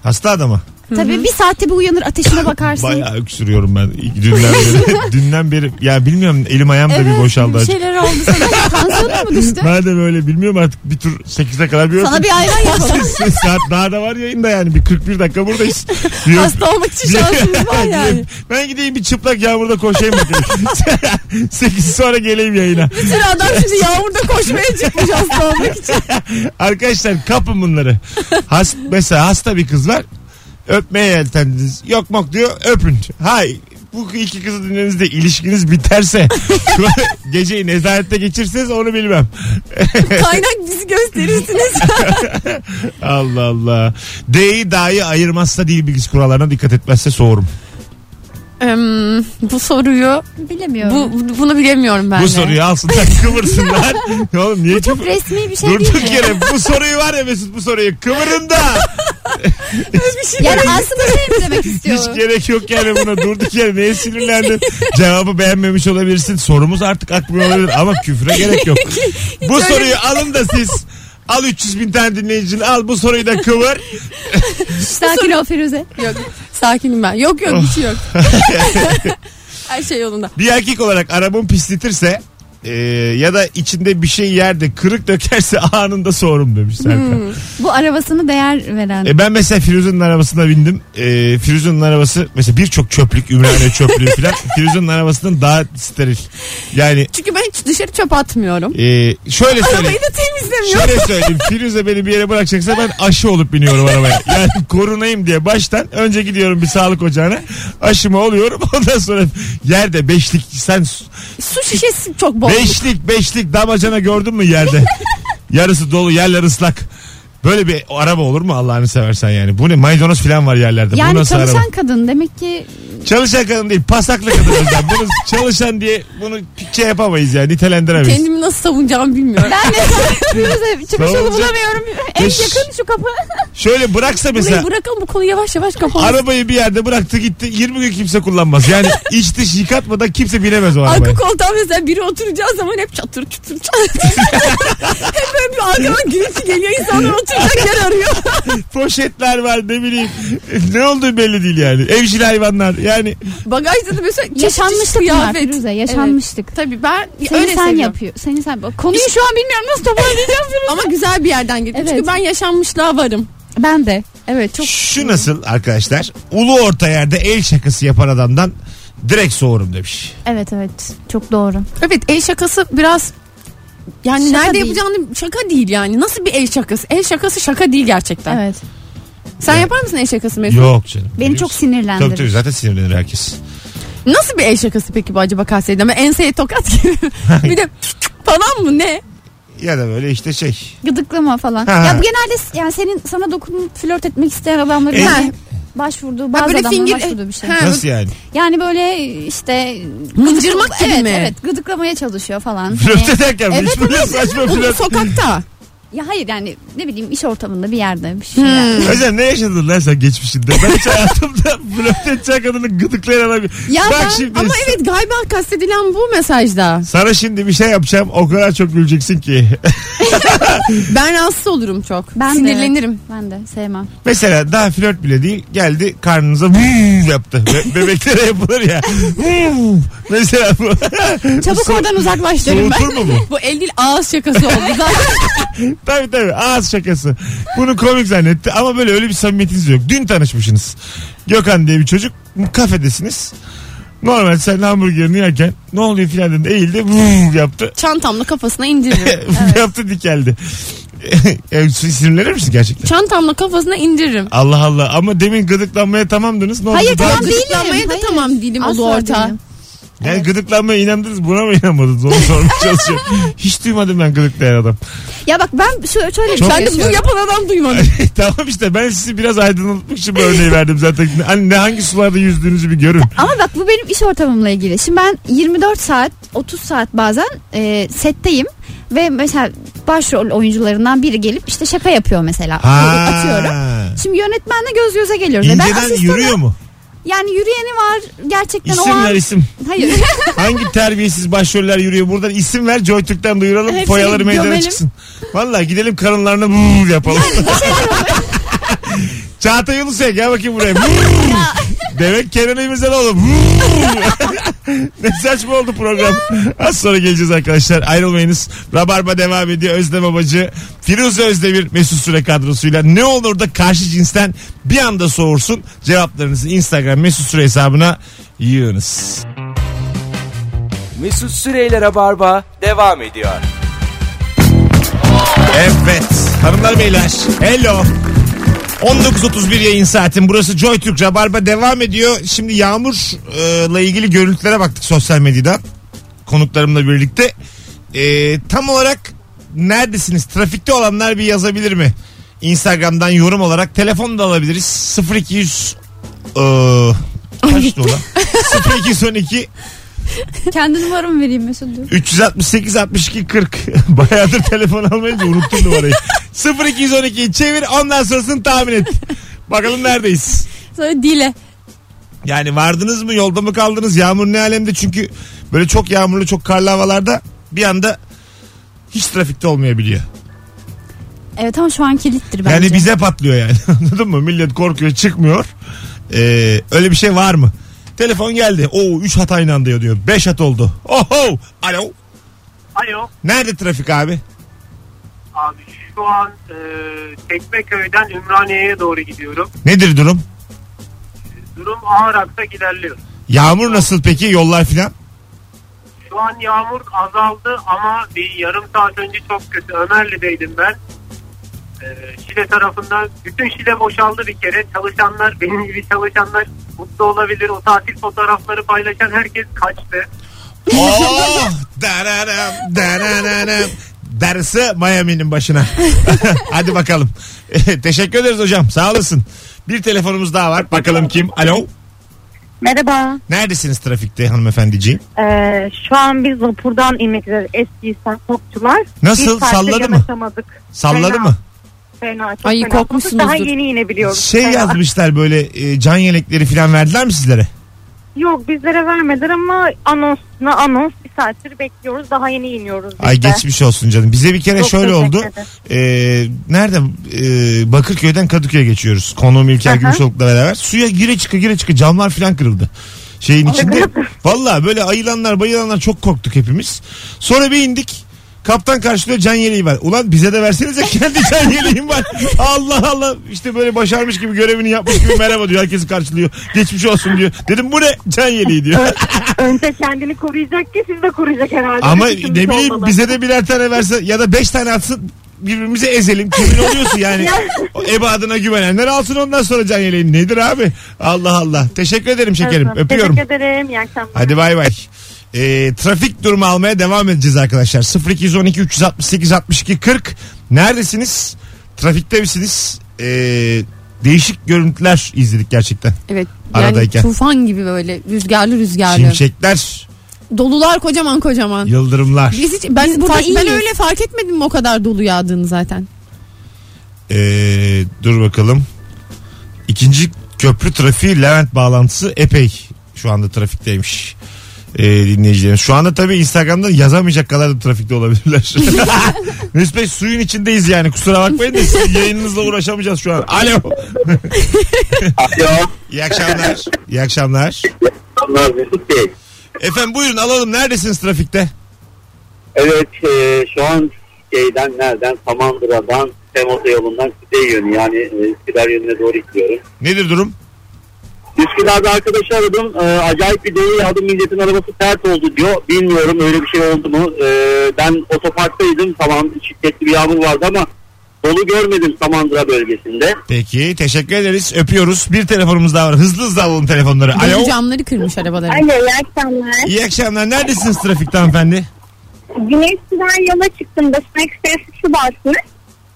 [SPEAKER 2] Hasta adama.
[SPEAKER 4] Tabii bir saatte bir uyanır ateşine bakarsın.
[SPEAKER 2] Bayağı öksürüyorum ben dünden beri. dünden beri ya bilmiyorum elim ayağım da bir boşaldı.
[SPEAKER 4] bir
[SPEAKER 2] acık.
[SPEAKER 4] şeyler oldu sana. Tansiyonun mu düştü?
[SPEAKER 2] Madem öyle bilmiyorum artık bir tur 8'e kadar bir
[SPEAKER 4] Sana
[SPEAKER 2] öpün.
[SPEAKER 4] bir ayran yapalım.
[SPEAKER 2] Siz- saat daha da var yayında yani bir 41 dakika buradayız. Bir öp-
[SPEAKER 3] Hasta olmak için şansımız var yani.
[SPEAKER 2] ben gideyim bir çıplak yağmurda koşayım bakayım. 8 sonra geleyim yayına.
[SPEAKER 3] Bir sürü adam şimdi yağmurda koşmaya çıkmış hasta olmak için.
[SPEAKER 2] Arkadaşlar kapın bunları. Has, mesela hasta bir kız var. Öpmeye yeltendiniz. Yok mok diyor öpün. Hay bu iki kızı dinlediğinizde ilişkiniz biterse geceyi nezarette geçirseniz onu bilmem.
[SPEAKER 3] Kaynak bizi gösterirsiniz.
[SPEAKER 2] Allah Allah. D'yi dahi ayırmazsa dil bilgisi kurallarına dikkat etmezse soğurum.
[SPEAKER 3] Em, bu soruyu
[SPEAKER 4] Bilemiyorum.
[SPEAKER 3] bu, bunu bilemiyorum ben
[SPEAKER 2] bu
[SPEAKER 3] de.
[SPEAKER 2] soruyu alsınlar kıvırsınlar. Oğlum niye
[SPEAKER 4] Çok resmi bir şey değil
[SPEAKER 2] Durduk
[SPEAKER 4] mi?
[SPEAKER 2] yere bu soruyu var ya Mesut bu soruyu kıvırın da.
[SPEAKER 4] Yani aslında şey mi demek istiyor?
[SPEAKER 2] Hiç gerek yok yani buna durduk yere neye sinirlendin? Cevabı beğenmemiş olabilirsin. Sorumuz artık akmıyor olabilir ama küfre gerek yok. bu soruyu alın da siz al 300 bin tane dinleyicini al bu soruyu da kıvır.
[SPEAKER 4] Sakin ol Firuze.
[SPEAKER 3] Yok sakinim ben. Yok yok bir şey yok. Her şey yolunda.
[SPEAKER 2] Bir erkek olarak arabam pisletirse e, ya da içinde bir şey yer de kırık dökerse anında sorun demiş Serkan.
[SPEAKER 4] Bu arabasını değer veren.
[SPEAKER 2] E ben mesela Firuze'nin arabasına bindim. E, Firuze'nin arabası mesela birçok çöplük, Ümraniye çöplüğü falan. Firuze'nin arabasından daha steril. Yani
[SPEAKER 3] Çünkü ben hiç dışarı çöp atmıyorum.
[SPEAKER 2] e, şöyle söyleyeyim.
[SPEAKER 3] Arabayı da temizlemiyorum.
[SPEAKER 2] Şöyle söyleyeyim. Firuze beni bir yere bırakacaksa ben aşı olup biniyorum arabaya. Yani korunayım diye baştan önce gidiyorum bir sağlık ocağına. Aşımı oluyorum. Ondan sonra yerde beşlik sen
[SPEAKER 3] Su şişesi çok bol.
[SPEAKER 2] beşlik beşlik damacana gördün mü yerde? Yarısı dolu yerler ıslak. Böyle bir araba olur mu Allah'ını seversen yani? Bu ne maydanoz falan var yerlerde. E, Bu
[SPEAKER 4] yani
[SPEAKER 2] nasıl araba?
[SPEAKER 4] çalışan kadın demek ki
[SPEAKER 2] Çalışan kadın değil pasaklı kadın hocam. Bunu çalışan diye bunu şey yapamayız yani nitelendiremeyiz.
[SPEAKER 3] Kendimi nasıl savunacağımı bilmiyorum.
[SPEAKER 4] ben de Firuze çıkış yolu
[SPEAKER 2] Savunacak-
[SPEAKER 4] bulamıyorum. En
[SPEAKER 2] Eş-
[SPEAKER 4] yakın şu kapı.
[SPEAKER 2] Şöyle bıraksa mesela
[SPEAKER 3] Burayı bırakalım bu konuyu yavaş yavaş kapatalım.
[SPEAKER 2] arabayı bir yerde bıraktı gitti 20 gün kimse kullanmaz. Yani iç dış yıkatmadan kimse binemez o
[SPEAKER 3] Arka
[SPEAKER 2] arabaya.
[SPEAKER 3] koltuğa mesela biri oturacağı zaman hep çatır çatır çatır. hep böyle bir arkadan gürültü geliyor. İnsanlar oturacak yer arıyor.
[SPEAKER 2] Poşetler var ne bileyim. ne olduğu belli değil yani. Evcil hayvanlar yani.
[SPEAKER 3] Bagajda da mesela çeşit çeşit
[SPEAKER 4] Yaşanmışlık var
[SPEAKER 3] kıyafet.
[SPEAKER 4] Firuze yaşanmışlık.
[SPEAKER 3] Tabii ben
[SPEAKER 4] Seni
[SPEAKER 3] öyle
[SPEAKER 4] sen
[SPEAKER 3] seviyorum.
[SPEAKER 4] yapıyor. Seni sen Bak, Konuyu şu an bilmiyorum nasıl toparlayacağım Firuze.
[SPEAKER 3] Ama güzel bir yerden geliyor.
[SPEAKER 4] Evet.
[SPEAKER 3] Çünkü ben yaşanmışlığa varım.
[SPEAKER 4] Ben de. Evet çok.
[SPEAKER 2] Şu nasıl arkadaşlar? Ulu orta yerde el şakası yapan adamdan direkt soğurum demiş.
[SPEAKER 4] Evet evet çok doğru.
[SPEAKER 3] Evet el şakası biraz yani
[SPEAKER 4] Şaka
[SPEAKER 3] nerede
[SPEAKER 4] değil.
[SPEAKER 3] yapacağını şaka değil yani. Nasıl bir el şakası? El şakası şaka değil gerçekten.
[SPEAKER 4] Evet.
[SPEAKER 3] Sen yapar mısın el şakası Mesut?
[SPEAKER 2] Yok canım.
[SPEAKER 4] Beni çok sinirlendirir.
[SPEAKER 2] Tabii tabii zaten sinirlenir herkes.
[SPEAKER 3] Nasıl bir el şakası peki bu acaba Kayseri'de? Ama enseye tokat gibi. bir de falan mı ne?
[SPEAKER 2] Ya da böyle işte şey.
[SPEAKER 4] Gıdıklama falan.
[SPEAKER 2] Ha.
[SPEAKER 4] Ya bu genelde s- yani senin sana dokunup flört etmek isteyen adamların
[SPEAKER 2] E-
[SPEAKER 4] yani başvurduğu bazı
[SPEAKER 3] böyle
[SPEAKER 4] adamların
[SPEAKER 3] finger-
[SPEAKER 4] başvurduğu bir şey.
[SPEAKER 3] Ha.
[SPEAKER 2] Nasıl yani?
[SPEAKER 4] Yani böyle işte
[SPEAKER 3] Mıncırmak gibi
[SPEAKER 4] evet,
[SPEAKER 3] mi?
[SPEAKER 4] Evet gıdıklamaya çalışıyor falan.
[SPEAKER 2] Flört
[SPEAKER 4] Hani-
[SPEAKER 2] ederken mi?
[SPEAKER 4] Evet,
[SPEAKER 2] Hiç böyle saçma
[SPEAKER 3] Bu
[SPEAKER 2] flört.
[SPEAKER 3] sokakta.
[SPEAKER 4] ya hayır yani ne bileyim iş ortamında bir yerde bir şey.
[SPEAKER 3] Hmm.
[SPEAKER 2] Hocam ne yaşadın lan sen geçmişinde? Ben hiç hayatımda flört edecek kadını gıdıklayan adam.
[SPEAKER 3] Ya
[SPEAKER 2] Bak
[SPEAKER 3] ben-
[SPEAKER 2] şimdi.
[SPEAKER 3] ama evet galiba kastedilen bu mesajda.
[SPEAKER 2] Sana şimdi bir şey yapacağım o kadar çok güleceksin ki.
[SPEAKER 3] Ben rahatsız olurum çok.
[SPEAKER 4] Ben de.
[SPEAKER 3] Sinirlenirim.
[SPEAKER 4] Ben de sevmem.
[SPEAKER 2] Mesela daha flört bile değil geldi karnınıza vuv yaptı. Be- bebeklere yapılır ya. Vuv. Mesela bu.
[SPEAKER 3] Çabuk
[SPEAKER 2] Su-
[SPEAKER 3] oradan uzaklaş derim ben.
[SPEAKER 2] Soğutur mu bu?
[SPEAKER 3] Bu el değil ağız şakası oldu zaten.
[SPEAKER 2] Tabii tabii ağız şakası. Bunu komik zannetti ama böyle öyle bir samimiyetiniz yok. Dün tanışmışsınız. Gökhan diye bir çocuk kafedesiniz. Normal sen hamburgerini yerken ne oluyor filan dedi eğildi vuv yaptı.
[SPEAKER 3] Çantamla kafasına indiririm.
[SPEAKER 2] yaptı dikeldi. e, sinirlenir misin gerçekten?
[SPEAKER 3] Çantamla kafasına indiririm.
[SPEAKER 2] Allah Allah ama demin gıdıklanmaya tamamdınız. Ne oldu?
[SPEAKER 4] Hayır,
[SPEAKER 2] Daha-
[SPEAKER 4] tamam değilim.
[SPEAKER 3] Gıdıklanmaya da
[SPEAKER 4] Hayır.
[SPEAKER 3] tamam değilim
[SPEAKER 4] Asla
[SPEAKER 3] ulu orta.
[SPEAKER 4] değilim.
[SPEAKER 2] Yani gıdıklanmaya inandınız buna mı inanmadınız onu sormaya çalışıyorum. Hiç duymadım ben gıdıklayan adam.
[SPEAKER 4] Ya bak ben şu şöyle bir
[SPEAKER 2] Çok-
[SPEAKER 4] şey
[SPEAKER 3] Ben de bunu
[SPEAKER 4] yaşıyorum.
[SPEAKER 3] yapan adam duymadım.
[SPEAKER 2] E, tamam işte ben sizi biraz aydınlatmak için bu örneği verdim zaten. Hani ne hangi sularda yüzdüğünüzü bir görün.
[SPEAKER 4] Ama bak bu benim iş ortamımla ilgili. Şimdi ben 24 saat 30 saat bazen e, setteyim ve mesela başrol oyuncularından biri gelip işte şaka yapıyor mesela. Atıyorum. Şimdi yönetmenle göz göze geliyoruz. Ve ben
[SPEAKER 2] İnceden
[SPEAKER 4] asistan-
[SPEAKER 2] yürüyor mu?
[SPEAKER 4] Yani yürüyeni var gerçekten
[SPEAKER 2] İsim
[SPEAKER 4] o an.
[SPEAKER 2] ver isim.
[SPEAKER 4] Hayır.
[SPEAKER 2] Hangi terbiyesiz başroller yürüyor buradan isim ver Joytürk'ten duyuralım
[SPEAKER 4] Hepsini
[SPEAKER 2] foyaları meydana
[SPEAKER 4] gömelim.
[SPEAKER 2] çıksın. Valla gidelim karınlarına vuv yapalım.
[SPEAKER 4] şey
[SPEAKER 2] Çağatay Ulusoy gel bakayım buraya. Vuv. Demek Kenan İmirzalıoğlu. Vuv. ne saçma oldu program. Az sonra geleceğiz arkadaşlar. Ayrılmayınız. Rabarba devam ediyor. Özlem Abacı, Firuze Özdemir, Mesut Süre kadrosuyla. Ne olur da karşı cinsten bir anda soğursun. Cevaplarınızı Instagram Mesut Süre hesabına yığınız.
[SPEAKER 1] Mesut Süreyler'e barba devam ediyor.
[SPEAKER 2] Evet. Hanımlar beyler. Hello. 19.31 yayın saatin. Burası Joy Türk Rabarba devam ediyor. Şimdi Yağmur'la ilgili görüntülere baktık sosyal medyada. Konuklarımla birlikte. E, tam olarak neredesiniz? Trafikte olanlar bir yazabilir mi? Instagram'dan yorum olarak. Telefon da alabiliriz. 0200 e, kaçtı o lan? 0212
[SPEAKER 4] Kendi numaramı vereyim Mesut'cum.
[SPEAKER 2] 368 62 40. Bayağıdır telefon almayınca unuttum numarayı. 0212 çevir ondan sonrasını tahmin et. Bakalım neredeyiz?
[SPEAKER 3] Sonra dile.
[SPEAKER 2] Yani vardınız mı yolda mı kaldınız yağmur ne alemde çünkü böyle çok yağmurlu çok karlı havalarda bir anda hiç trafikte olmayabiliyor.
[SPEAKER 4] Evet ama şu an kilittir bence.
[SPEAKER 2] Yani bize patlıyor yani anladın mı? Millet korkuyor çıkmıyor. Ee, öyle bir şey var mı? Telefon geldi. Oo 3 hat aynı anda yanıyor. 5 hat oldu. Oho. Alo.
[SPEAKER 5] Alo.
[SPEAKER 2] Nerede trafik abi?
[SPEAKER 5] Abi şu an e, Tekmeköy'den Ümraniye'ye doğru gidiyorum.
[SPEAKER 2] Nedir durum?
[SPEAKER 5] Durum ağır aksa ilerliyor.
[SPEAKER 2] Yağmur nasıl peki yollar filan?
[SPEAKER 5] Şu an yağmur azaldı ama bir yarım saat önce çok kötü. Ömerli'deydim ben. Ee, Şile tarafından bütün Şile boşaldı bir kere. Çalışanlar, benim gibi çalışanlar mutlu olabilir. O tatil fotoğrafları paylaşan herkes kaçtı.
[SPEAKER 2] Oh! Dararam, dararam. Dersi Miami'nin başına. Hadi bakalım. Teşekkür ederiz hocam. Sağ olasın. Bir telefonumuz daha var. Bakalım kim? Alo.
[SPEAKER 6] Merhaba.
[SPEAKER 2] Neredesiniz trafikte hanımefendiciğim?
[SPEAKER 6] Ee, şu an biz vapurdan inmek üzere eski İstanbulçular.
[SPEAKER 2] Nasıl?
[SPEAKER 6] Bir saatte
[SPEAKER 2] Salladı mı?
[SPEAKER 6] yanaşamadık.
[SPEAKER 2] Salladı
[SPEAKER 6] Fena,
[SPEAKER 2] mı?
[SPEAKER 6] Fena. Çok
[SPEAKER 3] Ay,
[SPEAKER 6] fena.
[SPEAKER 3] korkmuşsunuzdur.
[SPEAKER 6] Daha yeni inebiliyoruz.
[SPEAKER 2] Şey
[SPEAKER 6] Fena.
[SPEAKER 2] yazmışlar böyle e, can yelekleri filan verdiler mi sizlere?
[SPEAKER 6] Yok bizlere vermediler ama anonsuna anons bir saattir bekliyoruz. Daha yeni iniyoruz. biz
[SPEAKER 2] Ay
[SPEAKER 6] de.
[SPEAKER 2] geçmiş olsun canım. Bize bir kere
[SPEAKER 6] Çok
[SPEAKER 2] şöyle
[SPEAKER 6] teşekkür
[SPEAKER 2] oldu.
[SPEAKER 6] ederim.
[SPEAKER 2] E, nerede? E, Bakırköy'den Kadıköy'e geçiyoruz. Konuğum İlker
[SPEAKER 6] Aha.
[SPEAKER 2] Gümüşoluk'la beraber. Suya gire çıkı gire çıkı camlar filan kırıldı. Şeyin içinde. Valla böyle ayılanlar bayılanlar çok korktuk hepimiz. Sonra bir indik. Kaptan karşılıyor can yeleği var. Ulan bize de versenize kendi can yeleğim var. Allah Allah işte böyle başarmış gibi görevini yapmış gibi merhaba diyor. Herkesi karşılıyor. Geçmiş olsun diyor. Dedim bu ne can yeleği diyor.
[SPEAKER 6] Önce kendini koruyacak ki siz de koruyacak herhalde.
[SPEAKER 2] Ama
[SPEAKER 6] Bir
[SPEAKER 2] ne
[SPEAKER 6] düşünmüş
[SPEAKER 2] bileyim
[SPEAKER 6] olmalı.
[SPEAKER 2] bize de birer tane verse ya da beş tane atsın birbirimize ezelim. Kimin oluyorsun yani? O ebadına güvenenler alsın ondan sonra can yeleğini. Nedir abi? Allah Allah. Teşekkür ederim şekerim.
[SPEAKER 6] Evet,
[SPEAKER 2] Öpüyorum.
[SPEAKER 6] Teşekkür ederim. İyi akşamlar.
[SPEAKER 2] Hadi bay bay. Ee, trafik durumu almaya devam edeceğiz arkadaşlar. 0212 368 62 40. Neredesiniz? Trafikte misiniz? Ee, değişik görüntüler izledik gerçekten.
[SPEAKER 3] Evet.
[SPEAKER 2] Aradayken.
[SPEAKER 3] Yani tufan gibi böyle rüzgarlı rüzgarlı.
[SPEAKER 2] Şimşekler,
[SPEAKER 3] Dolular kocaman kocaman.
[SPEAKER 2] yıldırımlar.
[SPEAKER 3] Biz hiç, ben,
[SPEAKER 4] Biz burada
[SPEAKER 3] fark- ben
[SPEAKER 4] iyiyiz.
[SPEAKER 3] öyle fark etmedim o kadar dolu yağdığını zaten.
[SPEAKER 2] Ee, dur bakalım. İkinci köprü trafiği Levent bağlantısı epey şu anda trafikteymiş. Ee, dinleyicilerimiz. Şu anda tabii Instagram'da yazamayacak kadar da trafikte olabilirler. Mesut Bey suyun içindeyiz yani kusura bakmayın da sizin yayınınızla uğraşamayacağız şu an. Alo.
[SPEAKER 7] Alo.
[SPEAKER 2] İyi akşamlar. İyi akşamlar.
[SPEAKER 7] Bunlar Mesut Bey.
[SPEAKER 2] Efendim buyurun alalım neredesiniz trafikte?
[SPEAKER 7] Evet e, şu an şeyden nereden Samandıra'dan Temosa yolundan kuzey yönü yani e, Üsküdar yönüne doğru gidiyorum.
[SPEAKER 2] Nedir durum?
[SPEAKER 7] Üsküdar'da arkadaşı aradım. E, acayip bir deneyi aldım. Milletin arabası ters oldu diyor. Bilmiyorum öyle bir şey oldu mu? E, ben otoparktaydım. Tamam şiddetli bir yağmur vardı ama dolu görmedim Samandıra bölgesinde.
[SPEAKER 2] Peki teşekkür ederiz. Öpüyoruz. Bir telefonumuz daha var. Hızlı hızlı alalım telefonları. Alo.
[SPEAKER 3] Dolu camları kırmış arabaların.
[SPEAKER 8] Alo iyi akşamlar.
[SPEAKER 2] İyi akşamlar. Neredesiniz trafikte hanımefendi?
[SPEAKER 8] Güneşli'den yola çıktım. Basına ekspresi su basmış.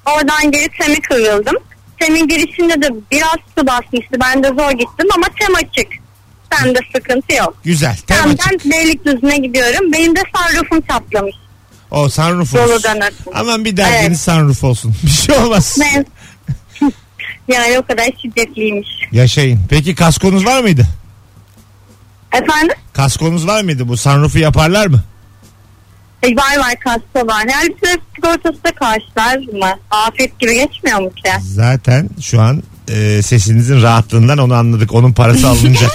[SPEAKER 8] Oradan geri teme kırıldım. Temin girişinde de biraz su basmıştı. Ben de zor gittim ama tem açık. Bende sıkıntı yok.
[SPEAKER 2] Güzel. Tamam.
[SPEAKER 8] Tamam, ben Beylikdüzü'ne gidiyorum. Benim de sunroofum çatlamış.
[SPEAKER 2] O sunroof
[SPEAKER 8] Dolu
[SPEAKER 2] olsun.
[SPEAKER 8] döner.
[SPEAKER 2] Aman bir derdiniz sunroof olsun. Bir şey olmaz.
[SPEAKER 8] Ben... yani o kadar şiddetliymiş.
[SPEAKER 2] Yaşayın. Peki kaskonuz var mıydı?
[SPEAKER 8] Efendim?
[SPEAKER 2] Kaskonuz var mıydı? Bu sunroofu yaparlar mı?
[SPEAKER 8] E, var var kasta var. Her bir trafik sigortası da karşılar mı? Afiyet gibi geçmiyor mu ki?
[SPEAKER 2] Zaten şu an e, sesinizin rahatlığından onu anladık. Onun parası alınca.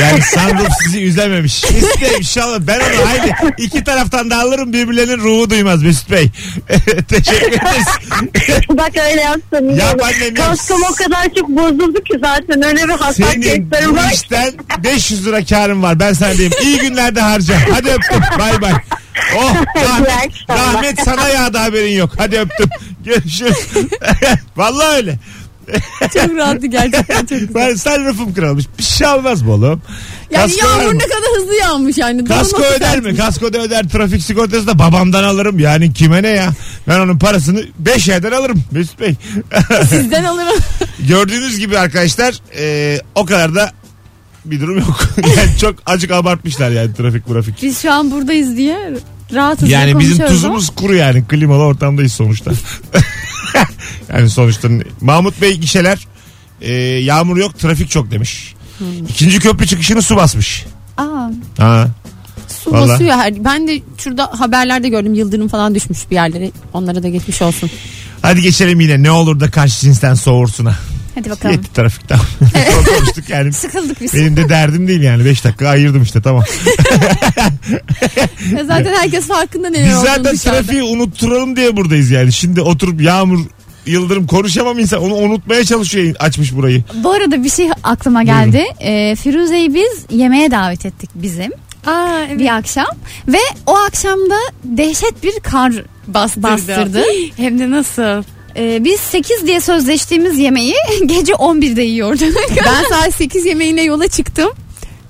[SPEAKER 2] yani sunroof sizi üzememiş. İşte inşallah ben onu haydi iki taraftan da alırım birbirlerinin ruhu duymaz Mesut Bey. Teşekkür ederiz.
[SPEAKER 8] Bak öyle yapsam iyi
[SPEAKER 2] Yap
[SPEAKER 8] olur.
[SPEAKER 2] annem, yap.
[SPEAKER 8] Kaskım o kadar çok bozuldu ki zaten öyle bir
[SPEAKER 2] Senin
[SPEAKER 8] hassasiyetim
[SPEAKER 2] bu
[SPEAKER 8] var.
[SPEAKER 2] işten 500 lira karın var. Ben sana diyeyim. İyi günlerde harca. Hadi öptüm. Bay bay. Oh rahmet,
[SPEAKER 8] akşamlar.
[SPEAKER 2] rahmet sana yağdı haberin yok. Hadi öptüm. Görüşürüz. Vallahi öyle.
[SPEAKER 3] Çok rahattı gerçekten çok güzel.
[SPEAKER 2] Ben sarrafım kralmış. Bir şey almaz bu oğlum.
[SPEAKER 3] Yani
[SPEAKER 2] Kasko öder
[SPEAKER 3] yağmur
[SPEAKER 2] mi?
[SPEAKER 3] ne kadar hızlı yağmış yani.
[SPEAKER 2] Kasko
[SPEAKER 3] Durulması
[SPEAKER 2] öder
[SPEAKER 3] lazım.
[SPEAKER 2] mi? Kasko da öder. Trafik sigortası da babamdan alırım. Yani kime ne ya? Ben onun parasını 5 yerden alırım. Mesut Bey.
[SPEAKER 3] Sizden alırım.
[SPEAKER 2] Gördüğünüz gibi arkadaşlar e, o kadar da bir durum yok. yani çok acık abartmışlar yani trafik grafik.
[SPEAKER 4] Biz şu an buradayız diye rahat hızlı
[SPEAKER 2] Yani bizim
[SPEAKER 4] konuşuyoruz
[SPEAKER 2] tuzumuz kuru yani klimalı ortamdayız sonuçta. yani sonuçta Mahmut Bey gişeler e, yağmur yok trafik çok demiş.
[SPEAKER 4] Hmm.
[SPEAKER 2] İkinci köprü çıkışını su basmış.
[SPEAKER 4] ama- Aa,
[SPEAKER 2] Ha.
[SPEAKER 3] Su
[SPEAKER 2] Vallahi.
[SPEAKER 3] basıyor her. Ben de şurada haberlerde gördüm yıldırım falan düşmüş bir yerlere. Onlara da geçmiş olsun.
[SPEAKER 2] Hadi geçelim yine ne olur da karşı cinsten soğursuna.
[SPEAKER 4] Hadi bakalım.
[SPEAKER 2] Yetti trafikten. Konuştuk yani.
[SPEAKER 4] Sıkıldık biz.
[SPEAKER 2] Benim de derdim değil yani. 5 dakika ayırdım işte tamam.
[SPEAKER 3] Ya E zaten herkes farkında neler
[SPEAKER 2] Biz
[SPEAKER 4] Ee,
[SPEAKER 3] olduğunu
[SPEAKER 2] zaten
[SPEAKER 3] dışarıda.
[SPEAKER 2] trafiği unutturalım diye buradayız yani. Şimdi oturup Yağmur Yıldırım konuşamam insan. Onu unutmaya çalışıyor açmış burayı.
[SPEAKER 4] Bu arada bir şey aklıma geldi. Ee, Firuze'yi biz yemeğe davet ettik bizim
[SPEAKER 3] Aa, evet.
[SPEAKER 4] bir akşam. Ve o akşamda dehşet bir kar bastırdı.
[SPEAKER 3] bastırdı. Hem de nasıl?
[SPEAKER 4] Ee, biz 8 diye sözleştiğimiz yemeği gece 11'de yiyorduk.
[SPEAKER 3] ben saat 8 yemeğine yola çıktım.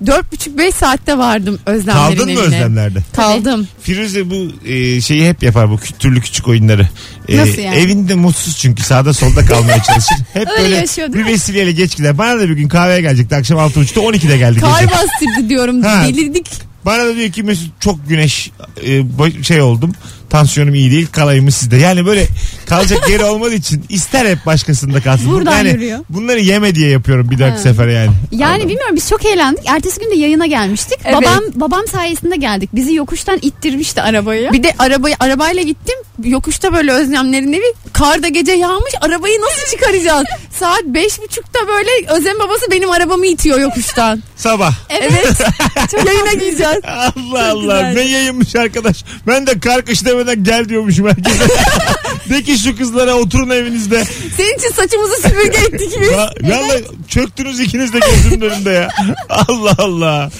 [SPEAKER 3] 4,5-5 saatte vardım Özlemlerin
[SPEAKER 2] Kaldın mı
[SPEAKER 3] evine.
[SPEAKER 2] özlemlerde?
[SPEAKER 3] Kaldım.
[SPEAKER 2] Firuze bu e, şeyi hep yapar bu kü- türlü küçük oyunları. E,
[SPEAKER 4] Nasıl yani?
[SPEAKER 2] Evinde mutsuz çünkü sağda solda kalmaya çalışır. Hep
[SPEAKER 4] Öyle
[SPEAKER 2] böyle
[SPEAKER 4] yaşıyor, değil
[SPEAKER 2] bir vesileyle geç gider. Bana da bir gün kahveye gelecekti akşam 6.30'da 12'de geldi.
[SPEAKER 3] Kar
[SPEAKER 2] gece.
[SPEAKER 3] bastırdı diyorum.
[SPEAKER 2] Ha.
[SPEAKER 3] Delirdik.
[SPEAKER 2] Bana da diyor ki Mesut çok güneş e, bo- şey oldum. Tansiyonum iyi değil kalayım mı sizde. Yani böyle kalacak yeri olmadığı için ister hep başkasında kalsın.
[SPEAKER 4] Buradan
[SPEAKER 2] yani
[SPEAKER 4] yürüyor.
[SPEAKER 2] Bunları yeme diye yapıyorum bir dahaki
[SPEAKER 4] Ha.
[SPEAKER 2] sefer yani.
[SPEAKER 4] Yani bilmiyorum biz çok eğlendik. Ertesi gün de yayına gelmiştik.
[SPEAKER 3] Evet.
[SPEAKER 4] Babam babam sayesinde geldik. Bizi yokuştan ittirmişti arabayı.
[SPEAKER 3] Bir de arabayı arabayla gittim. Yokuşta böyle Özlemlerin evi. Kar da gece yağmış. Arabayı nasıl çıkaracağız? Saat 5.30'da böyle Özlem babası benim arabamı itiyor yokuştan.
[SPEAKER 2] Sabah.
[SPEAKER 3] Evet. Yayına gideceğiz.
[SPEAKER 2] Allah
[SPEAKER 3] Çok
[SPEAKER 2] Allah
[SPEAKER 3] güzel.
[SPEAKER 2] ne yayınmış arkadaş. Ben de kar kış demeden gel diyormuşum herkese. De ki şu kızlara oturun evinizde.
[SPEAKER 3] Senin için saçımızı süpürge ettik biz.
[SPEAKER 2] Va- Vallahi çöktünüz ikiniz de gözümün önünde ya. Allah Allah.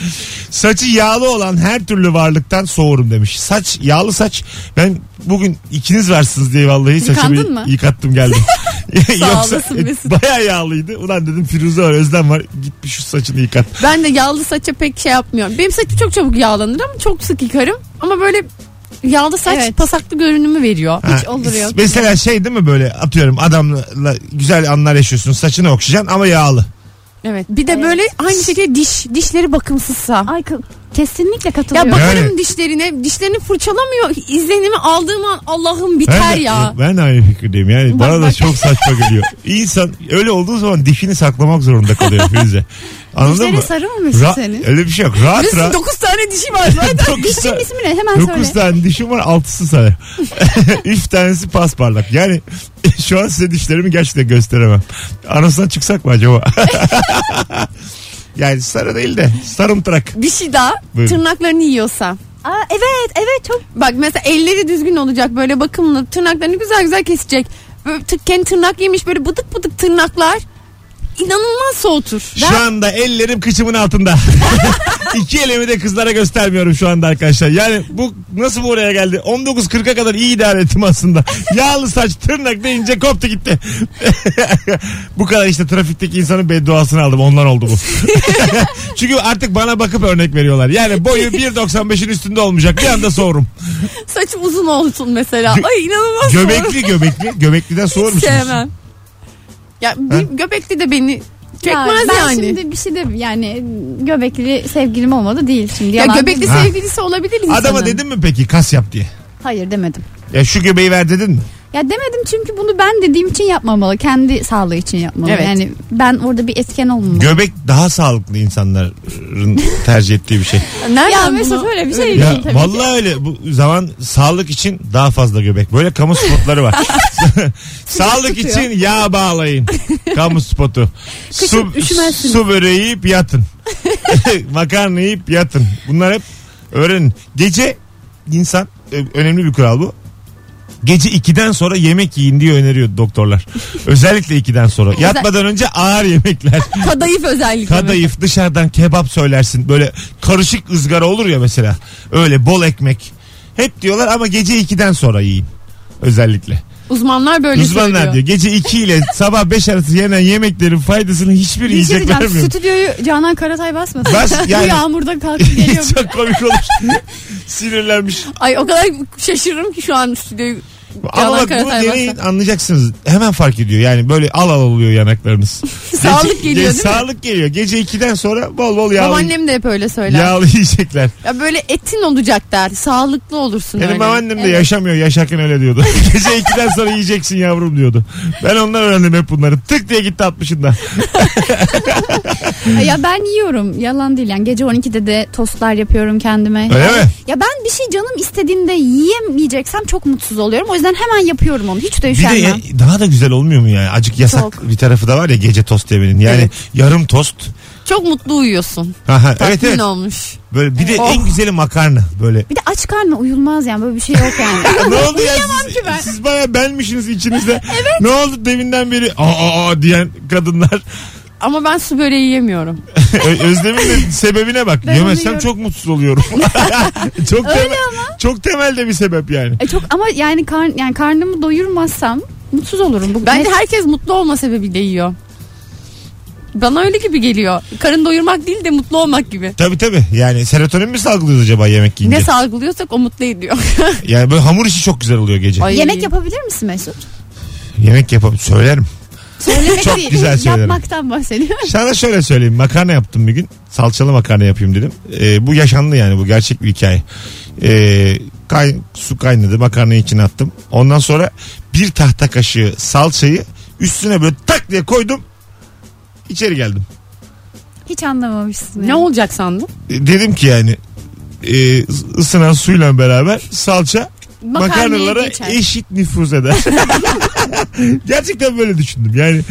[SPEAKER 2] Saçı yağlı olan her türlü varlıktan soğurum demiş. Saç yağlı saç. Ben bugün ikiniz varsınız diye vallahi saçımı
[SPEAKER 4] Yıkandın mı?
[SPEAKER 2] yıkattım geldim. e,
[SPEAKER 3] Sağ olasın Mesut.
[SPEAKER 2] bayağı yağlıydı. Ulan dedim Firuze var Özlem var. Git bir şu saçını yıkat.
[SPEAKER 3] Ben de yağlı saça pek şey yapmıyorum. Benim saçım çok çabuk yağlanır ama çok sık yıkarım. Ama böyle yağlı saç
[SPEAKER 4] Evet.
[SPEAKER 3] pasaklı görünümü veriyor.
[SPEAKER 2] Ha,
[SPEAKER 4] Hiç olur yok.
[SPEAKER 2] Mesela şey değil mi böyle atıyorum adamla güzel anlar yaşıyorsun. Saçını okşayacaksın ama yağlı.
[SPEAKER 3] Evet. Bir de böyle aynı şekilde diş dişleri bakımsızsa.
[SPEAKER 4] Ay kı- kesinlikle katılıyorum.
[SPEAKER 3] Ya bakarım
[SPEAKER 2] Yani.
[SPEAKER 3] dişlerine. Dişlerini fırçalamıyor. İzlenimi aldığım an Allah'ım biter
[SPEAKER 2] de,
[SPEAKER 3] ya.
[SPEAKER 2] Ben de aynı fikirdeyim yani.
[SPEAKER 3] Bak,
[SPEAKER 2] Bana da
[SPEAKER 3] bak.
[SPEAKER 2] çok saçma geliyor. İnsan öyle olduğu zaman dişini saklamak zorunda kalıyor Firuze. Anladın
[SPEAKER 4] Dişlerin
[SPEAKER 2] mı?
[SPEAKER 4] sarı mı
[SPEAKER 2] Ra-
[SPEAKER 4] Mesut senin?
[SPEAKER 2] öyle bir şey yok. Rahat
[SPEAKER 3] Biz
[SPEAKER 2] rahat.
[SPEAKER 3] 9 tane dişi var zaten.
[SPEAKER 2] Dokuz
[SPEAKER 4] Dişin
[SPEAKER 2] tane-
[SPEAKER 4] ismi ne? Hemen söyle.
[SPEAKER 2] dokuz tane dişim var altısı sarı. Üç tanesi pasparlak. Yani şu an size dişlerimi gerçekten gösteremem. Anasından çıksak mı acaba? yani sarı değil de sarımtırak.
[SPEAKER 3] bir şey daha.
[SPEAKER 2] Buyurun.
[SPEAKER 3] Tırnaklarını yiyorsa.
[SPEAKER 4] Aa, evet evet çok
[SPEAKER 3] Bak mesela elleri düzgün olacak böyle bakımlı. Tırnaklarını güzel güzel kesecek. Böyle tık- kendi tırnak yemiş böyle bıdık bıdık tırnaklar. İnanılmaz soğutur.
[SPEAKER 2] Şu anda ellerim kıçımın altında. İki elimi de kızlara göstermiyorum şu anda arkadaşlar. Yani bu nasıl bu oraya geldi? 19.40'a kadar iyi idare ettim aslında. Yağlı saç tırnak deyince koptu gitti. bu kadar işte trafikteki insanın bedduasını aldım. Ondan oldu bu. Çünkü artık bana bakıp örnek veriyorlar. Yani boyu 1.95'in üstünde olmayacak. Bir anda soğurum.
[SPEAKER 3] Saçım uzun olsun mesela.
[SPEAKER 2] Gö-
[SPEAKER 3] Ay inanılmaz soğur.
[SPEAKER 2] Göbekli göbekli. Göbekliden soğur musunuz?
[SPEAKER 3] Sevmem. Ya bir göbekli de beni çekmez
[SPEAKER 4] ben
[SPEAKER 3] yani.
[SPEAKER 4] şimdi bir şey de yani göbekli sevgilim olmadı değil şimdi.
[SPEAKER 3] ya
[SPEAKER 4] yalan
[SPEAKER 3] göbekli
[SPEAKER 4] değil.
[SPEAKER 2] Ha.
[SPEAKER 3] sevgilisi olabilir insanın.
[SPEAKER 2] Adama dedim mi peki kas yap diye?
[SPEAKER 4] Hayır demedim.
[SPEAKER 2] Ya şu göbeği ver dedin mi?
[SPEAKER 4] Ya demedim çünkü bunu ben dediğim için yapmamalı. Kendi sağlığı için yapmalı.
[SPEAKER 3] Evet.
[SPEAKER 4] Yani ben orada bir etken olmamalı.
[SPEAKER 2] Göbek daha sağlıklı insanların tercih ettiği bir şey.
[SPEAKER 3] Nereden
[SPEAKER 4] Ya
[SPEAKER 3] bunu-
[SPEAKER 4] Mesut öyle bir şey değil
[SPEAKER 2] ya
[SPEAKER 4] tabii ki.
[SPEAKER 2] vallahi öyle bu zaman sağlık için daha fazla göbek. Böyle kamu spotları var. sağlık
[SPEAKER 4] tutuyor.
[SPEAKER 2] için yağ bağlayın. Kamu spotu. su,
[SPEAKER 3] üşümezsiniz.
[SPEAKER 2] su böreği yiyip yatın. Makarna yiyip yatın. Bunlar hep öğrenin. Gece insan ö- önemli bir kural bu. Gece 2'den sonra yemek yiyin diye öneriyor doktorlar. Özellikle 2'den sonra. Yatmadan önce ağır yemekler.
[SPEAKER 3] Kadayıf özellikle.
[SPEAKER 2] Kadayıf dışarıdan kebap söylersin. Böyle karışık ızgara olur ya mesela. Öyle bol ekmek. Hep diyorlar ama gece 2'den sonra yiyin. Özellikle.
[SPEAKER 3] Uzmanlar böyle
[SPEAKER 2] Uzmanlar
[SPEAKER 3] söylüyor.
[SPEAKER 2] diyor. Gece 2 ile sabah 5 arası yenen yemeklerin faydasını hiçbir
[SPEAKER 4] Bir şey
[SPEAKER 2] yiyecek
[SPEAKER 4] diyeceğim,
[SPEAKER 2] vermiyor.
[SPEAKER 4] stüdyoyu Canan Karatay basmasın.
[SPEAKER 2] Bas,
[SPEAKER 4] Bu
[SPEAKER 2] yani-
[SPEAKER 4] yağmurda kalkıp geliyor.
[SPEAKER 2] Çok komik olur. Sinirlenmiş.
[SPEAKER 3] Ay o kadar şaşırırım ki şu an stüdyoyu.
[SPEAKER 2] Ama
[SPEAKER 3] Yalan
[SPEAKER 2] bak bunu
[SPEAKER 3] Karatay
[SPEAKER 2] deneyin
[SPEAKER 3] varsa.
[SPEAKER 2] anlayacaksınız. Hemen fark ediyor. Yani böyle al al oluyor yanaklarınız.
[SPEAKER 3] Sağlık
[SPEAKER 2] Gece-
[SPEAKER 3] geliyor
[SPEAKER 2] ge-
[SPEAKER 3] değil mi?
[SPEAKER 2] Sağlık geliyor. Gece 2'den sonra bol bol yağlı,
[SPEAKER 3] Babaannem de hep öyle söyler. Ya,
[SPEAKER 2] yağlı yiyecekler.
[SPEAKER 3] böyle etin olacak der. Sağlıklı olursun
[SPEAKER 2] Benim
[SPEAKER 3] öyle.
[SPEAKER 2] babaannem de yaşamıyor yaşarken öyle diyordu. Gece 2'den sonra yiyeceksin yavrum diyordu. Ben ondan öğrendim hep bunları. Tık diye gitti 60'ında.
[SPEAKER 4] Ay ya ben yiyorum. Yalan değil yani. Gece 12'de de tostlar yapıyorum kendime.
[SPEAKER 2] Öyle
[SPEAKER 4] Yani-
[SPEAKER 2] mi?
[SPEAKER 4] Ya ben bir şey canım istediğinde yiyemeyeceksem çok mutsuz oluyorum. O yüzden yüzden hemen yapıyorum onu. Hiç
[SPEAKER 2] Bir
[SPEAKER 4] de
[SPEAKER 2] de
[SPEAKER 4] üşenmem.
[SPEAKER 2] ya- daha da güzel olmuyor mu yani? Acık yasak
[SPEAKER 4] Çok.
[SPEAKER 2] bir tarafı da var ya gece tost yemenin. Yani
[SPEAKER 3] Evet.
[SPEAKER 2] yarım tost.
[SPEAKER 3] Çok mutlu uyuyorsun.
[SPEAKER 2] Aha, evet
[SPEAKER 3] Tatmin
[SPEAKER 2] evet.
[SPEAKER 3] olmuş.
[SPEAKER 2] Böyle bir de en güzeli makarna böyle.
[SPEAKER 4] Bir de aç karnına uyulmaz yani böyle bir şey yok yani.
[SPEAKER 2] ne oldu ya? Siz,
[SPEAKER 3] ki ben.
[SPEAKER 2] siz baya benmişsiniz içinizde. Ne oldu deminden beri aa, aa diyen kadınlar.
[SPEAKER 3] Ama ben su böreği yemiyorum.
[SPEAKER 2] Ö- Özlem'in de sebebine bak.
[SPEAKER 4] Ben onu
[SPEAKER 2] Yemezsem
[SPEAKER 4] yiyorum.
[SPEAKER 2] çok mutsuz oluyorum. çok temel, çok temel de bir sebep yani.
[SPEAKER 4] E çok ama yani karn yani karnımı doyurmazsam mutsuz olurum. Bu
[SPEAKER 3] Bence herkes mutlu olma sebebiyle yiyor. Bana öyle gibi geliyor. Karın doyurmak değil de mutlu olmak gibi.
[SPEAKER 2] Tabii tabii. Yani serotonin mi salgılıyoruz acaba yemek yiyince?
[SPEAKER 3] Ne salgılıyorsak o mutlu ediyor.
[SPEAKER 2] yani böyle hamur işi çok güzel oluyor gece.
[SPEAKER 3] Ay.
[SPEAKER 4] Yemek yapabilir misin Mesut?
[SPEAKER 2] Yemek yapalım söylerim.
[SPEAKER 4] Söylemek
[SPEAKER 2] Çok
[SPEAKER 4] değil,
[SPEAKER 2] güzel söylerim.
[SPEAKER 4] Yapmaktan bahsediyor.
[SPEAKER 2] Sana şöyle söyleyeyim. Makarna yaptım bir gün. Salçalı makarna yapayım dedim. Ee, bu yaşandı yani. Bu gerçek bir hikaye. Ee, kay, su kaynadı. Makarnayı içine attım. Ondan sonra bir tahta kaşığı salçayı üstüne böyle tak diye koydum. İçeri geldim.
[SPEAKER 4] Hiç anlamamışsın. yani.
[SPEAKER 3] ne olacak sandın?
[SPEAKER 2] E, dedim ki yani e, ısınan suyla beraber salça
[SPEAKER 4] Makarnaya
[SPEAKER 2] makarnalara
[SPEAKER 4] geçer.
[SPEAKER 2] eşit nüfuz eder. Gerçekten böyle düşündüm. Yani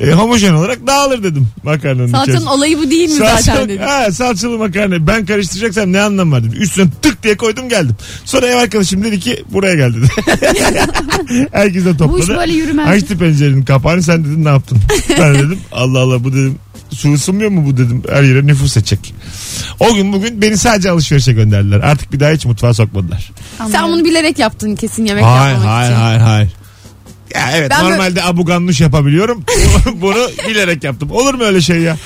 [SPEAKER 2] e, homojen olarak dağılır dedim makarnanın
[SPEAKER 3] Salçanın
[SPEAKER 2] içerisinde.
[SPEAKER 3] olayı bu değil mi zaten
[SPEAKER 2] Salça-
[SPEAKER 3] dedim.
[SPEAKER 2] ha, salçalı makarna. Ben karıştıracaksam ne anlam var dedim. Üstüne tık diye koydum geldim. Sonra ev arkadaşım dedi ki buraya gel dedi. Herkes de topladı.
[SPEAKER 4] Bu iş böyle yürümez.
[SPEAKER 2] Açtı pencerenin kapağını sen dedin ne yaptın? Ben dedim Allah Allah bu dedim su ısınmıyor mu bu dedim her yere nüfus edecek. O gün bugün beni sadece alışverişe gönderdiler. Artık bir daha hiç mutfağa sokmadılar.
[SPEAKER 3] Sen bunu bilerek yaptın kesin yemek
[SPEAKER 2] Hayır
[SPEAKER 3] yapmamak
[SPEAKER 2] hayır
[SPEAKER 3] için.
[SPEAKER 2] hayır hayır. Ya evet
[SPEAKER 3] Ben
[SPEAKER 2] normalde abuganluş yapabiliyorum. Bunu bilerek yaptım. Olur mu öyle şey ya?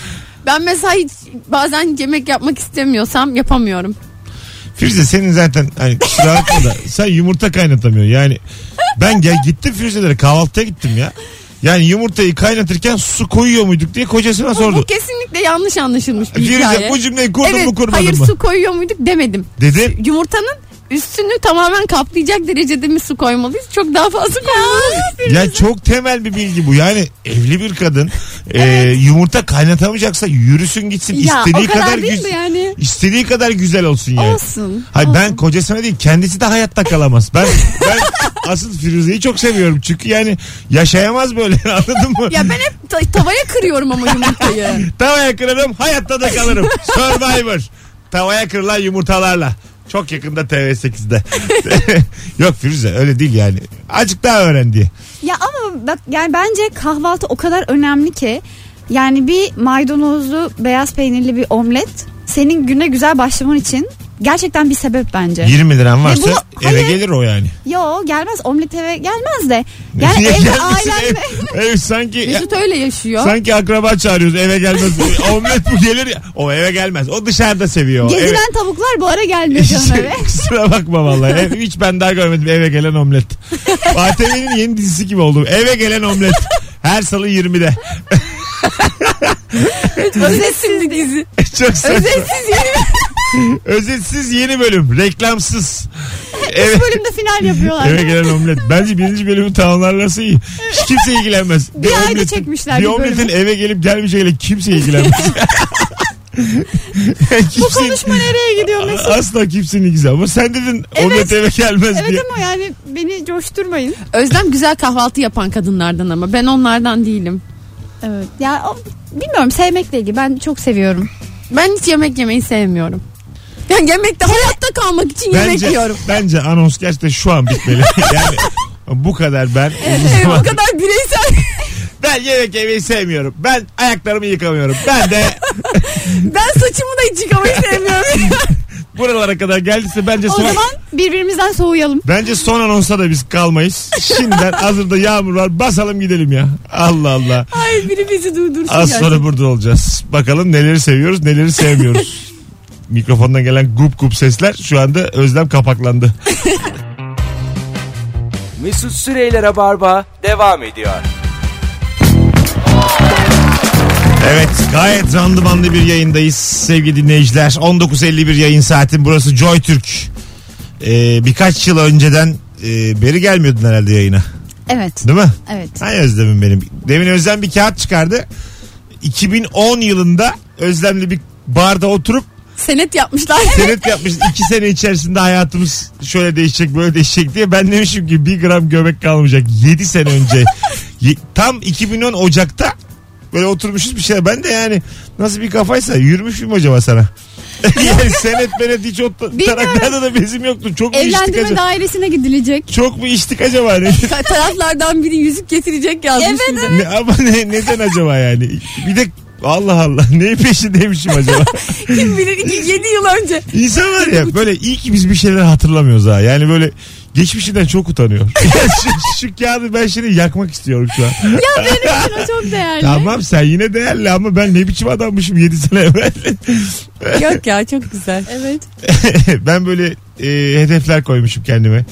[SPEAKER 3] Ben mesela hiç bazen yemek yapmak istemiyorsam yapamıyorum.
[SPEAKER 2] Firuze senin zaten hani kusura bakma da sen yumurta kaynatamıyorsun. Yani ben gel gittim Firuze'lere kahvaltıya gittim ya. Yani yumurtayı kaynatırken su koyuyor muyduk diye kocasına
[SPEAKER 3] Bu, bu
[SPEAKER 2] sordu.
[SPEAKER 3] kesinlikle yanlış anlaşılmış bir
[SPEAKER 2] Firuze
[SPEAKER 3] hikaye.
[SPEAKER 2] bu cümleyi kurdun
[SPEAKER 3] evet,
[SPEAKER 2] mu kurmadın
[SPEAKER 3] hayır
[SPEAKER 2] mı?
[SPEAKER 3] su koyuyor muyduk demedim.
[SPEAKER 2] Dedim.
[SPEAKER 3] Yumurtanın üstünü tamamen kaplayacak derecede mi su koymalıyız? Çok daha fazla koymalıyız.
[SPEAKER 2] Ya çok temel bir bilgi bu. Yani evli bir kadın e, yumurta kaynatamayacaksa yürüsün gitsin.
[SPEAKER 3] Ya,
[SPEAKER 2] istediği
[SPEAKER 3] o kadar değil
[SPEAKER 2] güz-
[SPEAKER 3] mi yani?
[SPEAKER 2] istediği kadar güzel olsun yani.
[SPEAKER 3] Olsun.
[SPEAKER 2] Hayır ben kocasına değil kendisi de hayatta kalamaz. Ben ben asıl Firuze'yi çok seviyorum. Çünkü yani yaşayamaz böyle anladın mı?
[SPEAKER 3] Ya ben hep ta- tavaya kırıyorum ama yumurtayı.
[SPEAKER 2] Tavaya kırarım hayatta da kalırım. Survivor. Tavaya kırılan yumurtalarla. Çok yakında TV8'de. Yok Firuze öyle değil yani. Azıcık daha öğren diye.
[SPEAKER 4] Ya ama bak yani bence kahvaltı o kadar önemli ki yani bir maydanozlu beyaz peynirli bir omlet senin güne güzel başlaman için gerçekten bir sebep bence.
[SPEAKER 2] 20 liran varsa
[SPEAKER 4] Ve bu-
[SPEAKER 2] eve
[SPEAKER 4] hayır.
[SPEAKER 2] gelir o yani.
[SPEAKER 4] Yo gelmez omlet eve gelmez de. Yani
[SPEAKER 2] Niye
[SPEAKER 4] evde
[SPEAKER 2] gelmesin?
[SPEAKER 4] ailenle.
[SPEAKER 2] Ev, ev sanki
[SPEAKER 3] Mesut öyle yaşıyor.
[SPEAKER 2] sanki akraba çağırıyoruz eve gelmez. E, Omlet bu gelir ya. O eve gelmez. O dışarıda seviyor. O eve-
[SPEAKER 4] Gezilen tavuklar bu ara gelmiyor
[SPEAKER 2] Hiç-
[SPEAKER 4] canım eve.
[SPEAKER 2] Kusura bakma vallahi. Ev- Hiç ben daha görmedim eve gelen omlet. ATV'nin yeni dizisi gibi oldu. Eve gelen omlet. Her salı 20'de.
[SPEAKER 3] Özetsiz bir dizi.
[SPEAKER 2] Çok saçma.
[SPEAKER 3] Özetsiz yeni
[SPEAKER 2] Özetsiz yeni bölüm. Reklamsız. Eve,
[SPEAKER 4] Bölümde final yapıyorlar.
[SPEAKER 2] eve gelen omlet. Bence birinci bölümü tamamlarlarsa iyi. Hiç kimse ilgilenmez. Bir,
[SPEAKER 4] ayda
[SPEAKER 2] omletin-
[SPEAKER 4] çekmişler
[SPEAKER 2] Bir
[SPEAKER 4] bir
[SPEAKER 2] omletin
[SPEAKER 4] bölümü.
[SPEAKER 2] eve gelip gelmeyeceğiyle kimse ilgilenmez. kimse, Bu
[SPEAKER 4] Konuşma nereye gidiyor Mesut?
[SPEAKER 2] Asla kimsenin ilgisi ama sen dedin omlet eve gelmez diye.
[SPEAKER 4] Evet ama yani beni coşturmayın.
[SPEAKER 3] Özlem güzel kahvaltı yapan kadınlardan ama ben onlardan değilim.
[SPEAKER 4] Evet. Ya o- bilmiyorum sevmekle ilgili ben çok seviyorum.
[SPEAKER 3] Ben hiç yemek yemeyi sevmiyorum. Yani yemekte hayatta kalmak için yemek
[SPEAKER 2] Bence,
[SPEAKER 3] yiyorum.
[SPEAKER 2] bence anons gerçekten şu an bitmeli. yani bu kadar ben uzun
[SPEAKER 3] Evet, o
[SPEAKER 2] zamandır-
[SPEAKER 3] kadar bireysel.
[SPEAKER 2] ben yemek yemeyi sevmiyorum. Ben ayaklarımı yıkamıyorum. Ben de
[SPEAKER 3] Ben saçımı da hiç yıkamayı sevmiyorum.
[SPEAKER 2] buralara kadar geldiyse bence
[SPEAKER 4] O
[SPEAKER 2] son
[SPEAKER 4] zaman birbirimizden soğuyalım.
[SPEAKER 2] bence son anonsa da biz kalmayız. Şimdiden hazırda yağmur var. Basalım gidelim ya. Allah Allah.
[SPEAKER 3] Ay biri bizi durdursun
[SPEAKER 2] Az sonra burada olacağız. Bakalım neleri seviyoruz, neleri sevmiyoruz. Mikrofondan gelen gup gup sesler şu anda Özlem kapaklandı.
[SPEAKER 1] Mesut Süreyler'e barba devam ediyor.
[SPEAKER 2] Evet gayet randımanlı bir yayındayız sevgili dinleyiciler. 19.51 yayın saatin burası Joy Türk. Ee, birkaç yıl önceden e, beri gelmiyordun herhalde yayına
[SPEAKER 4] Evet.
[SPEAKER 2] değil mi?
[SPEAKER 4] Evet.
[SPEAKER 2] Hay Özlem'im benim. Demin Özlem bir kağıt çıkardı. 2010 yılında Özlem'le bir barda oturup
[SPEAKER 3] senet yapmışlar.
[SPEAKER 2] Senet yapmış. iki sene içerisinde hayatımız şöyle değişecek böyle değişecek diye. Ben demişim ki bir gram göbek kalmayacak. 7 sene önce. Ye- Tam 2010 Ocak'ta böyle oturmuşuz bir şey. Ben de yani nasıl bir kafaysa yürümüşüm acaba sana. yani senet benet hiç o ta-
[SPEAKER 4] Bilmiyorum.
[SPEAKER 2] taraklarda da bezim yoktu. Çok mu içtik
[SPEAKER 4] Evlendirme
[SPEAKER 2] acaba?
[SPEAKER 4] dairesine gidilecek.
[SPEAKER 2] Çok mu içtik acaba? Hani Ne,
[SPEAKER 3] Ka- taraflardan biri yüzük getirecek yazmış. bir de.
[SPEAKER 2] ne- ama ne, neden acaba yani? Bir de Allah Allah neyin peşindeymişim acaba?
[SPEAKER 3] Kim bilir 7 yıl önce.
[SPEAKER 2] İnsan var ya böyle iyi ki biz bir şeyler hatırlamıyoruz ha. Yani böyle geçmişinden çok utanıyor. Ya şu, şu kağıdı ben şimdi yakmak istiyorum şu an.
[SPEAKER 4] Ya benim için o çok değerli.
[SPEAKER 2] Tamam sen yine değerli ama ben ne biçim adammışım 7 sene evvel.
[SPEAKER 3] Yok ya çok güzel. Evet.
[SPEAKER 2] ben böyle e, hedefler koymuşum kendime.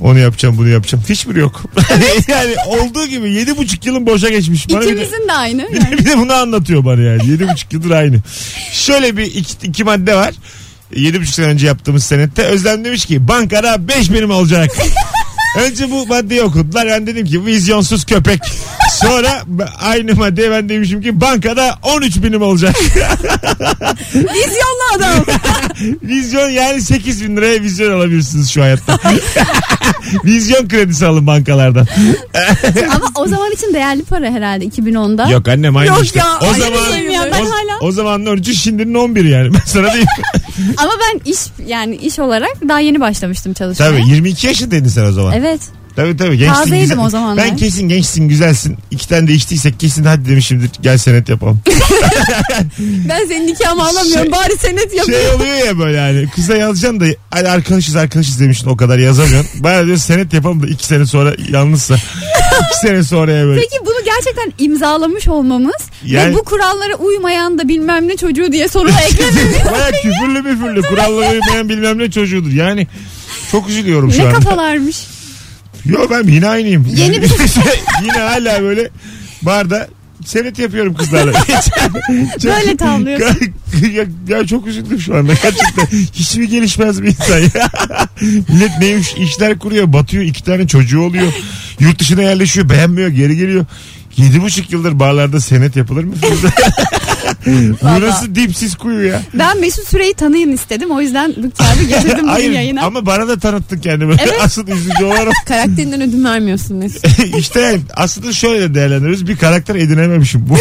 [SPEAKER 2] Onu yapacağım bunu yapacağım. Hiçbiri yok. yani olduğu gibi 7,5 yılım boşa geçmiş. Bana bir de-
[SPEAKER 4] İkimizin de aynı.
[SPEAKER 2] Bir de, bir de bunu anlatıyor bana yani. Yedi buçuk yıldır aynı. Şöyle bir iki, iki madde var. Yedi buçuk sene önce yaptığımız senette Özlem demiş ki bankada beş birim olacak. Önce bu maddeyi okudular. Ben dedim ki vizyonsuz köpek. Sonra b- aynı maddeye ben demişim ki bankada 13 binim olacak.
[SPEAKER 3] Vizyonlu adam.
[SPEAKER 2] Vizyon yani 8 bin liraya vizyon alabilirsiniz şu hayatta. vizyon kredisi alın bankalardan.
[SPEAKER 4] Ama o zaman için değerli para herhalde 2010'da.
[SPEAKER 2] Yok annem aynı
[SPEAKER 3] Yok
[SPEAKER 2] işte.
[SPEAKER 3] ya,
[SPEAKER 2] o
[SPEAKER 3] aynı
[SPEAKER 2] zaman
[SPEAKER 3] diyeyim ya, ben
[SPEAKER 2] o,
[SPEAKER 4] hala-
[SPEAKER 2] o zamanın ölçü şimdinin 11 yani. Ben sana diyeyim.
[SPEAKER 4] Ama ben iş yani iş olarak daha yeni başlamıştım çalışmaya.
[SPEAKER 2] Tabii 22 yaşındaydın sen o zaman.
[SPEAKER 4] Evet.
[SPEAKER 2] Tabii tabii gençsin.
[SPEAKER 4] Tazeydim
[SPEAKER 2] güzel-
[SPEAKER 4] o zamanlar.
[SPEAKER 2] Ben kesin gençsin güzelsin. İki tane de içtiysek kesin hadi demişimdir gel senet yapalım.
[SPEAKER 3] Ben senin nikahımı alamıyorum.
[SPEAKER 2] Şey-
[SPEAKER 3] Bari senet yapayım.
[SPEAKER 2] şey oluyor ya böyle hani kıza yazacaksın da hadi arkadaşız arkadaşız demişsin o kadar yazamıyorsun. Baya diyor senet yapalım da iki sene sonra yalnızsa. iki sene sonraya böyle.
[SPEAKER 4] Peki bunu gerçekten imzalamış olmamız
[SPEAKER 2] Yani-
[SPEAKER 4] ve bu kurallara uymayan da bilmem ne çocuğu diye soruna eklememiz
[SPEAKER 2] Baya küfürlü müfürlü kurallara uymayan bilmem ne çocuğudur yani. Çok üzülüyorum şu
[SPEAKER 4] ne
[SPEAKER 2] anda.
[SPEAKER 4] kafalarmış.
[SPEAKER 2] Yo ben yine aynıyım.
[SPEAKER 4] Yeni bir-
[SPEAKER 2] yine hala böyle barda senet yapıyorum kızlarla. Çok-
[SPEAKER 4] Böyle tavlıyorsun.
[SPEAKER 2] ya, ya çok üzüldüm şu anda gerçekten. Hiçbir gelişmez bir insan ya. Millet neymiş işler kuruyor batıyor iki tane çocuğu oluyor. Yurt dışına yerleşiyor beğenmiyor geri geliyor. Yedi buçuk yıldır barlarda senet yapılır mı? Burası dipsiz kuyu ya.
[SPEAKER 4] Ben Mesut Süreyi tanıyın istedim o yüzden Bükçü abi getirdim bugün
[SPEAKER 2] Hayır
[SPEAKER 4] yayına.
[SPEAKER 2] ama bana da tanıttın kendimi. Asıl üzücü olarak
[SPEAKER 3] Karakterinden ödün vermiyorsun Mesut.
[SPEAKER 2] işte aslında şöyle de değerlendiririz. Bir karakter edinememişim. Bu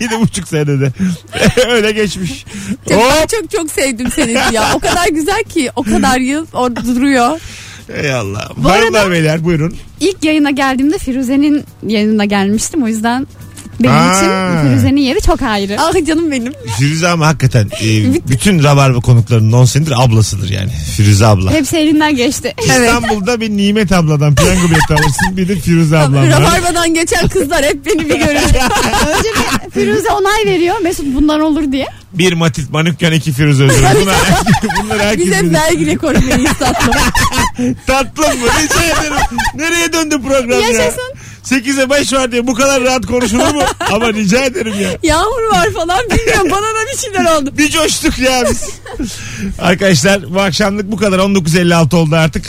[SPEAKER 2] yedi buçuk senede. Öyle geçmiş.
[SPEAKER 3] Ya
[SPEAKER 2] Hop.
[SPEAKER 3] Ben çok çok sevdim seni ya. O kadar güzel ki
[SPEAKER 2] Hmm.
[SPEAKER 3] o kadar yıl orada duruyor.
[SPEAKER 2] Ey Allah. Hanımlar beyler buyurun.
[SPEAKER 4] İlk yayına geldiğimde Firuze'nin yayınına gelmiştim o yüzden benim
[SPEAKER 2] Ha.
[SPEAKER 4] için Firuze'nin yeri çok ayrı.
[SPEAKER 3] Ah canım benim.
[SPEAKER 2] Firuze ama hakikaten e, bütün rabarba konuklarının 10 senedir ablasıdır yani. Firuze abla.
[SPEAKER 4] Hepsi elinden geçti.
[SPEAKER 2] İstanbul'da bir Nimet abladan piyango bileti alırsın. Bir de Firuze ablam var.
[SPEAKER 3] Rabarbadan geçen kızlar hep beni bir görür.
[SPEAKER 4] Önce bir Firuze onay veriyor Mesut bundan olur diye.
[SPEAKER 2] Bir Matit Manukyan, iki Firuze Özür. Bunlar, bunlar herkes
[SPEAKER 3] Biz hep
[SPEAKER 2] bilir.
[SPEAKER 3] vergiyle korumayı sattık.
[SPEAKER 2] Tatlım mı? Rica ederim. Nereye döndü program
[SPEAKER 4] Yaşasın.
[SPEAKER 2] ya? 8'e 5 var diye bu kadar rahat konuşulur mu? Ama rica ederim ya.
[SPEAKER 3] Yağmur var falan bilmiyorum. Bana da bir şeyler oldu.
[SPEAKER 2] Bir coştuk ya biz. Arkadaşlar bu akşamlık bu kadar. 19.56 oldu artık.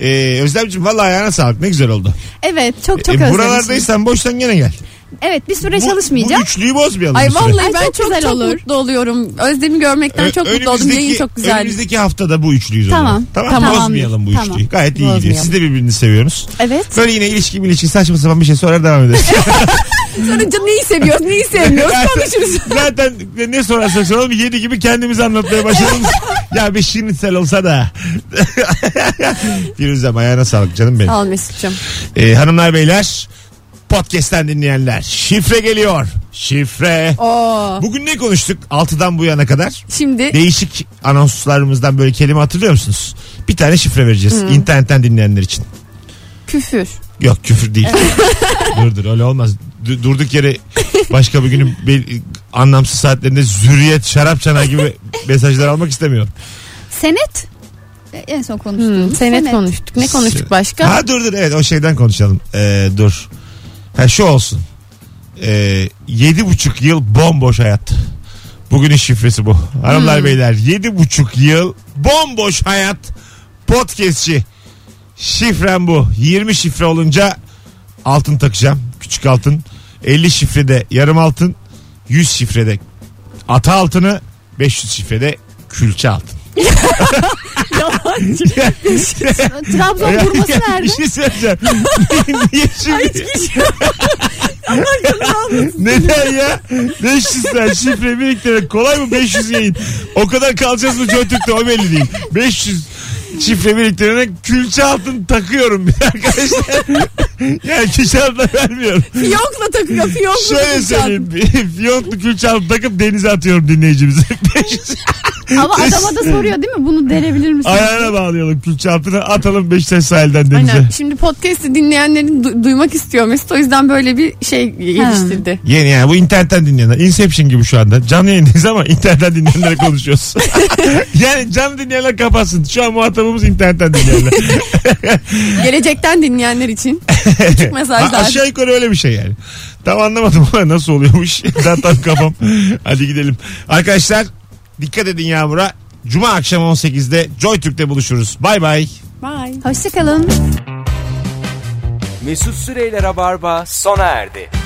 [SPEAKER 2] Ee, Özlemciğim valla ayağına sağlık. Ne güzel oldu.
[SPEAKER 4] Evet çok çok
[SPEAKER 2] Ee,
[SPEAKER 4] özlemişim.
[SPEAKER 2] buralardaysan boştan gene gel.
[SPEAKER 4] Evet bir süre
[SPEAKER 2] Bu-
[SPEAKER 4] çalışmayacağım.
[SPEAKER 2] Bu üçlüyü bozmayalım.
[SPEAKER 3] Ay
[SPEAKER 2] bir süre.
[SPEAKER 3] vallahi
[SPEAKER 4] Ay,
[SPEAKER 3] ben
[SPEAKER 4] çok
[SPEAKER 3] çok
[SPEAKER 4] güzel
[SPEAKER 3] çok
[SPEAKER 4] olur.
[SPEAKER 3] mutlu oluyorum. Özlem'i görmekten
[SPEAKER 2] Ö-
[SPEAKER 3] çok mutlu oldum.
[SPEAKER 2] önümüzdeki-
[SPEAKER 3] Yayın çok güzeldi.
[SPEAKER 2] Önümüzdeki haftada bu üçlüyüz. o zaman. Tamam.
[SPEAKER 4] Tamam. Tamam.
[SPEAKER 2] Bozmayalım bu
[SPEAKER 4] Tamam.
[SPEAKER 2] üçlüyü. Gayet iyi gidiyor.
[SPEAKER 3] Bozmayalım.
[SPEAKER 2] Siz de birbirini seviyorsunuz.
[SPEAKER 4] Evet.
[SPEAKER 2] Böyle yine ilişki ilişki saçma sapan bir şey sorar devam ederiz.
[SPEAKER 3] Sonra can- neyi seviyoruz neyi sevmiyoruz konuşuruz.
[SPEAKER 2] Zaten ne sorarsak soralım yedi gibi kendimizi anlatmaya başladığımız. ya bir şinitsel olsa da. Firuzem ayağına sağlık canım benim.
[SPEAKER 3] Al Mesut'cum.
[SPEAKER 2] Ee, hanımlar beyler podcast'ten dinleyenler şifre geliyor. Şifre.
[SPEAKER 3] Oo.
[SPEAKER 2] Bugün ne konuştuk 6'dan bu yana kadar?
[SPEAKER 3] Şimdi
[SPEAKER 2] Değişik anonslarımızdan böyle kelime hatırlıyor musunuz? Bir tane şifre vereceğiz internetten dinleyenler için.
[SPEAKER 3] küfür.
[SPEAKER 2] Yok küfür değil. dur dur öyle olmaz. Du- durduk yere başka bir günün bel- anlamsız saatlerinde zürriyet şarap çanağı gibi mesajlar almak istemiyorum.
[SPEAKER 4] Senet E, en son konuştuğumuz.
[SPEAKER 3] Hmm, senet konuştuk. Ne konuştuk başka?
[SPEAKER 2] Ha dur dur evet o şeyden konuşalım. Ee, dur. Ha şu olsun. Ee, yedi buçuk yıl bomboş hayat. Bugünün şifresi bu. Hanımlar
[SPEAKER 3] Hmm.
[SPEAKER 2] beyler yedi buçuk yıl bomboş hayat podcastçi. Şifrem bu. 20 şifre olunca altın takacağım. Küçük altın. 50 şifrede yarım altın. 100 şifrede ata altını. 500 şifrede Külçe altın.
[SPEAKER 3] Yalancı.
[SPEAKER 4] Trabzon vurması
[SPEAKER 2] Bir
[SPEAKER 4] nerede? şey
[SPEAKER 2] şey söyleyeceğim. Niye şimdi? Neden ya? 500 lira şifre biriktirmek kolay mı 500 yayın? O kadar kalacağız mı Joytürk'te o belli değil. 500 şifre biriktirerek külçe altın takıyorum bir arkadaşlar. yani kişi altına vermiyorum.
[SPEAKER 3] Fiyokla takıyor fiyokla.
[SPEAKER 2] Şöyle
[SPEAKER 3] takıyor.
[SPEAKER 2] söyleyeyim. Fiyonklu külçe altın takıp denize atıyorum dinleyicimize. 500
[SPEAKER 4] Ama adama da soruyor değil mi? Bunu denebilir misin?
[SPEAKER 2] ayağına bağlayalım külçe altını atalım Beşiktaş sahilden denize.
[SPEAKER 3] Aynen. Şimdi podcast'i dinleyenlerin du- duymak istiyor Mesut. O yüzden böyle bir şey geliştirdi.
[SPEAKER 2] Yeni yani bu internetten dinleyenler. Inception gibi şu anda. Canlı yayındayız ama internetten dinleyenlere konuşuyoruz. yani canlı dinleyenler kapatsın. Şu an muhatabımız internetten dinleyenler.
[SPEAKER 3] Gelecekten dinleyenler için. Küçük
[SPEAKER 2] Ha,
[SPEAKER 3] mesajlar.
[SPEAKER 2] aşağı yukarı öyle bir şey yani. Tam anlamadım ama nasıl oluyormuş. Zaten kafam. Hadi gidelim. Arkadaşlar dikkat edin Yağmur'a. Cuma akşam 18'de Joy Türk'te buluşuruz. Bay bay.
[SPEAKER 3] Bye.
[SPEAKER 4] Hoşçakalın.
[SPEAKER 1] Mesut Süreyler'e barba sona erdi.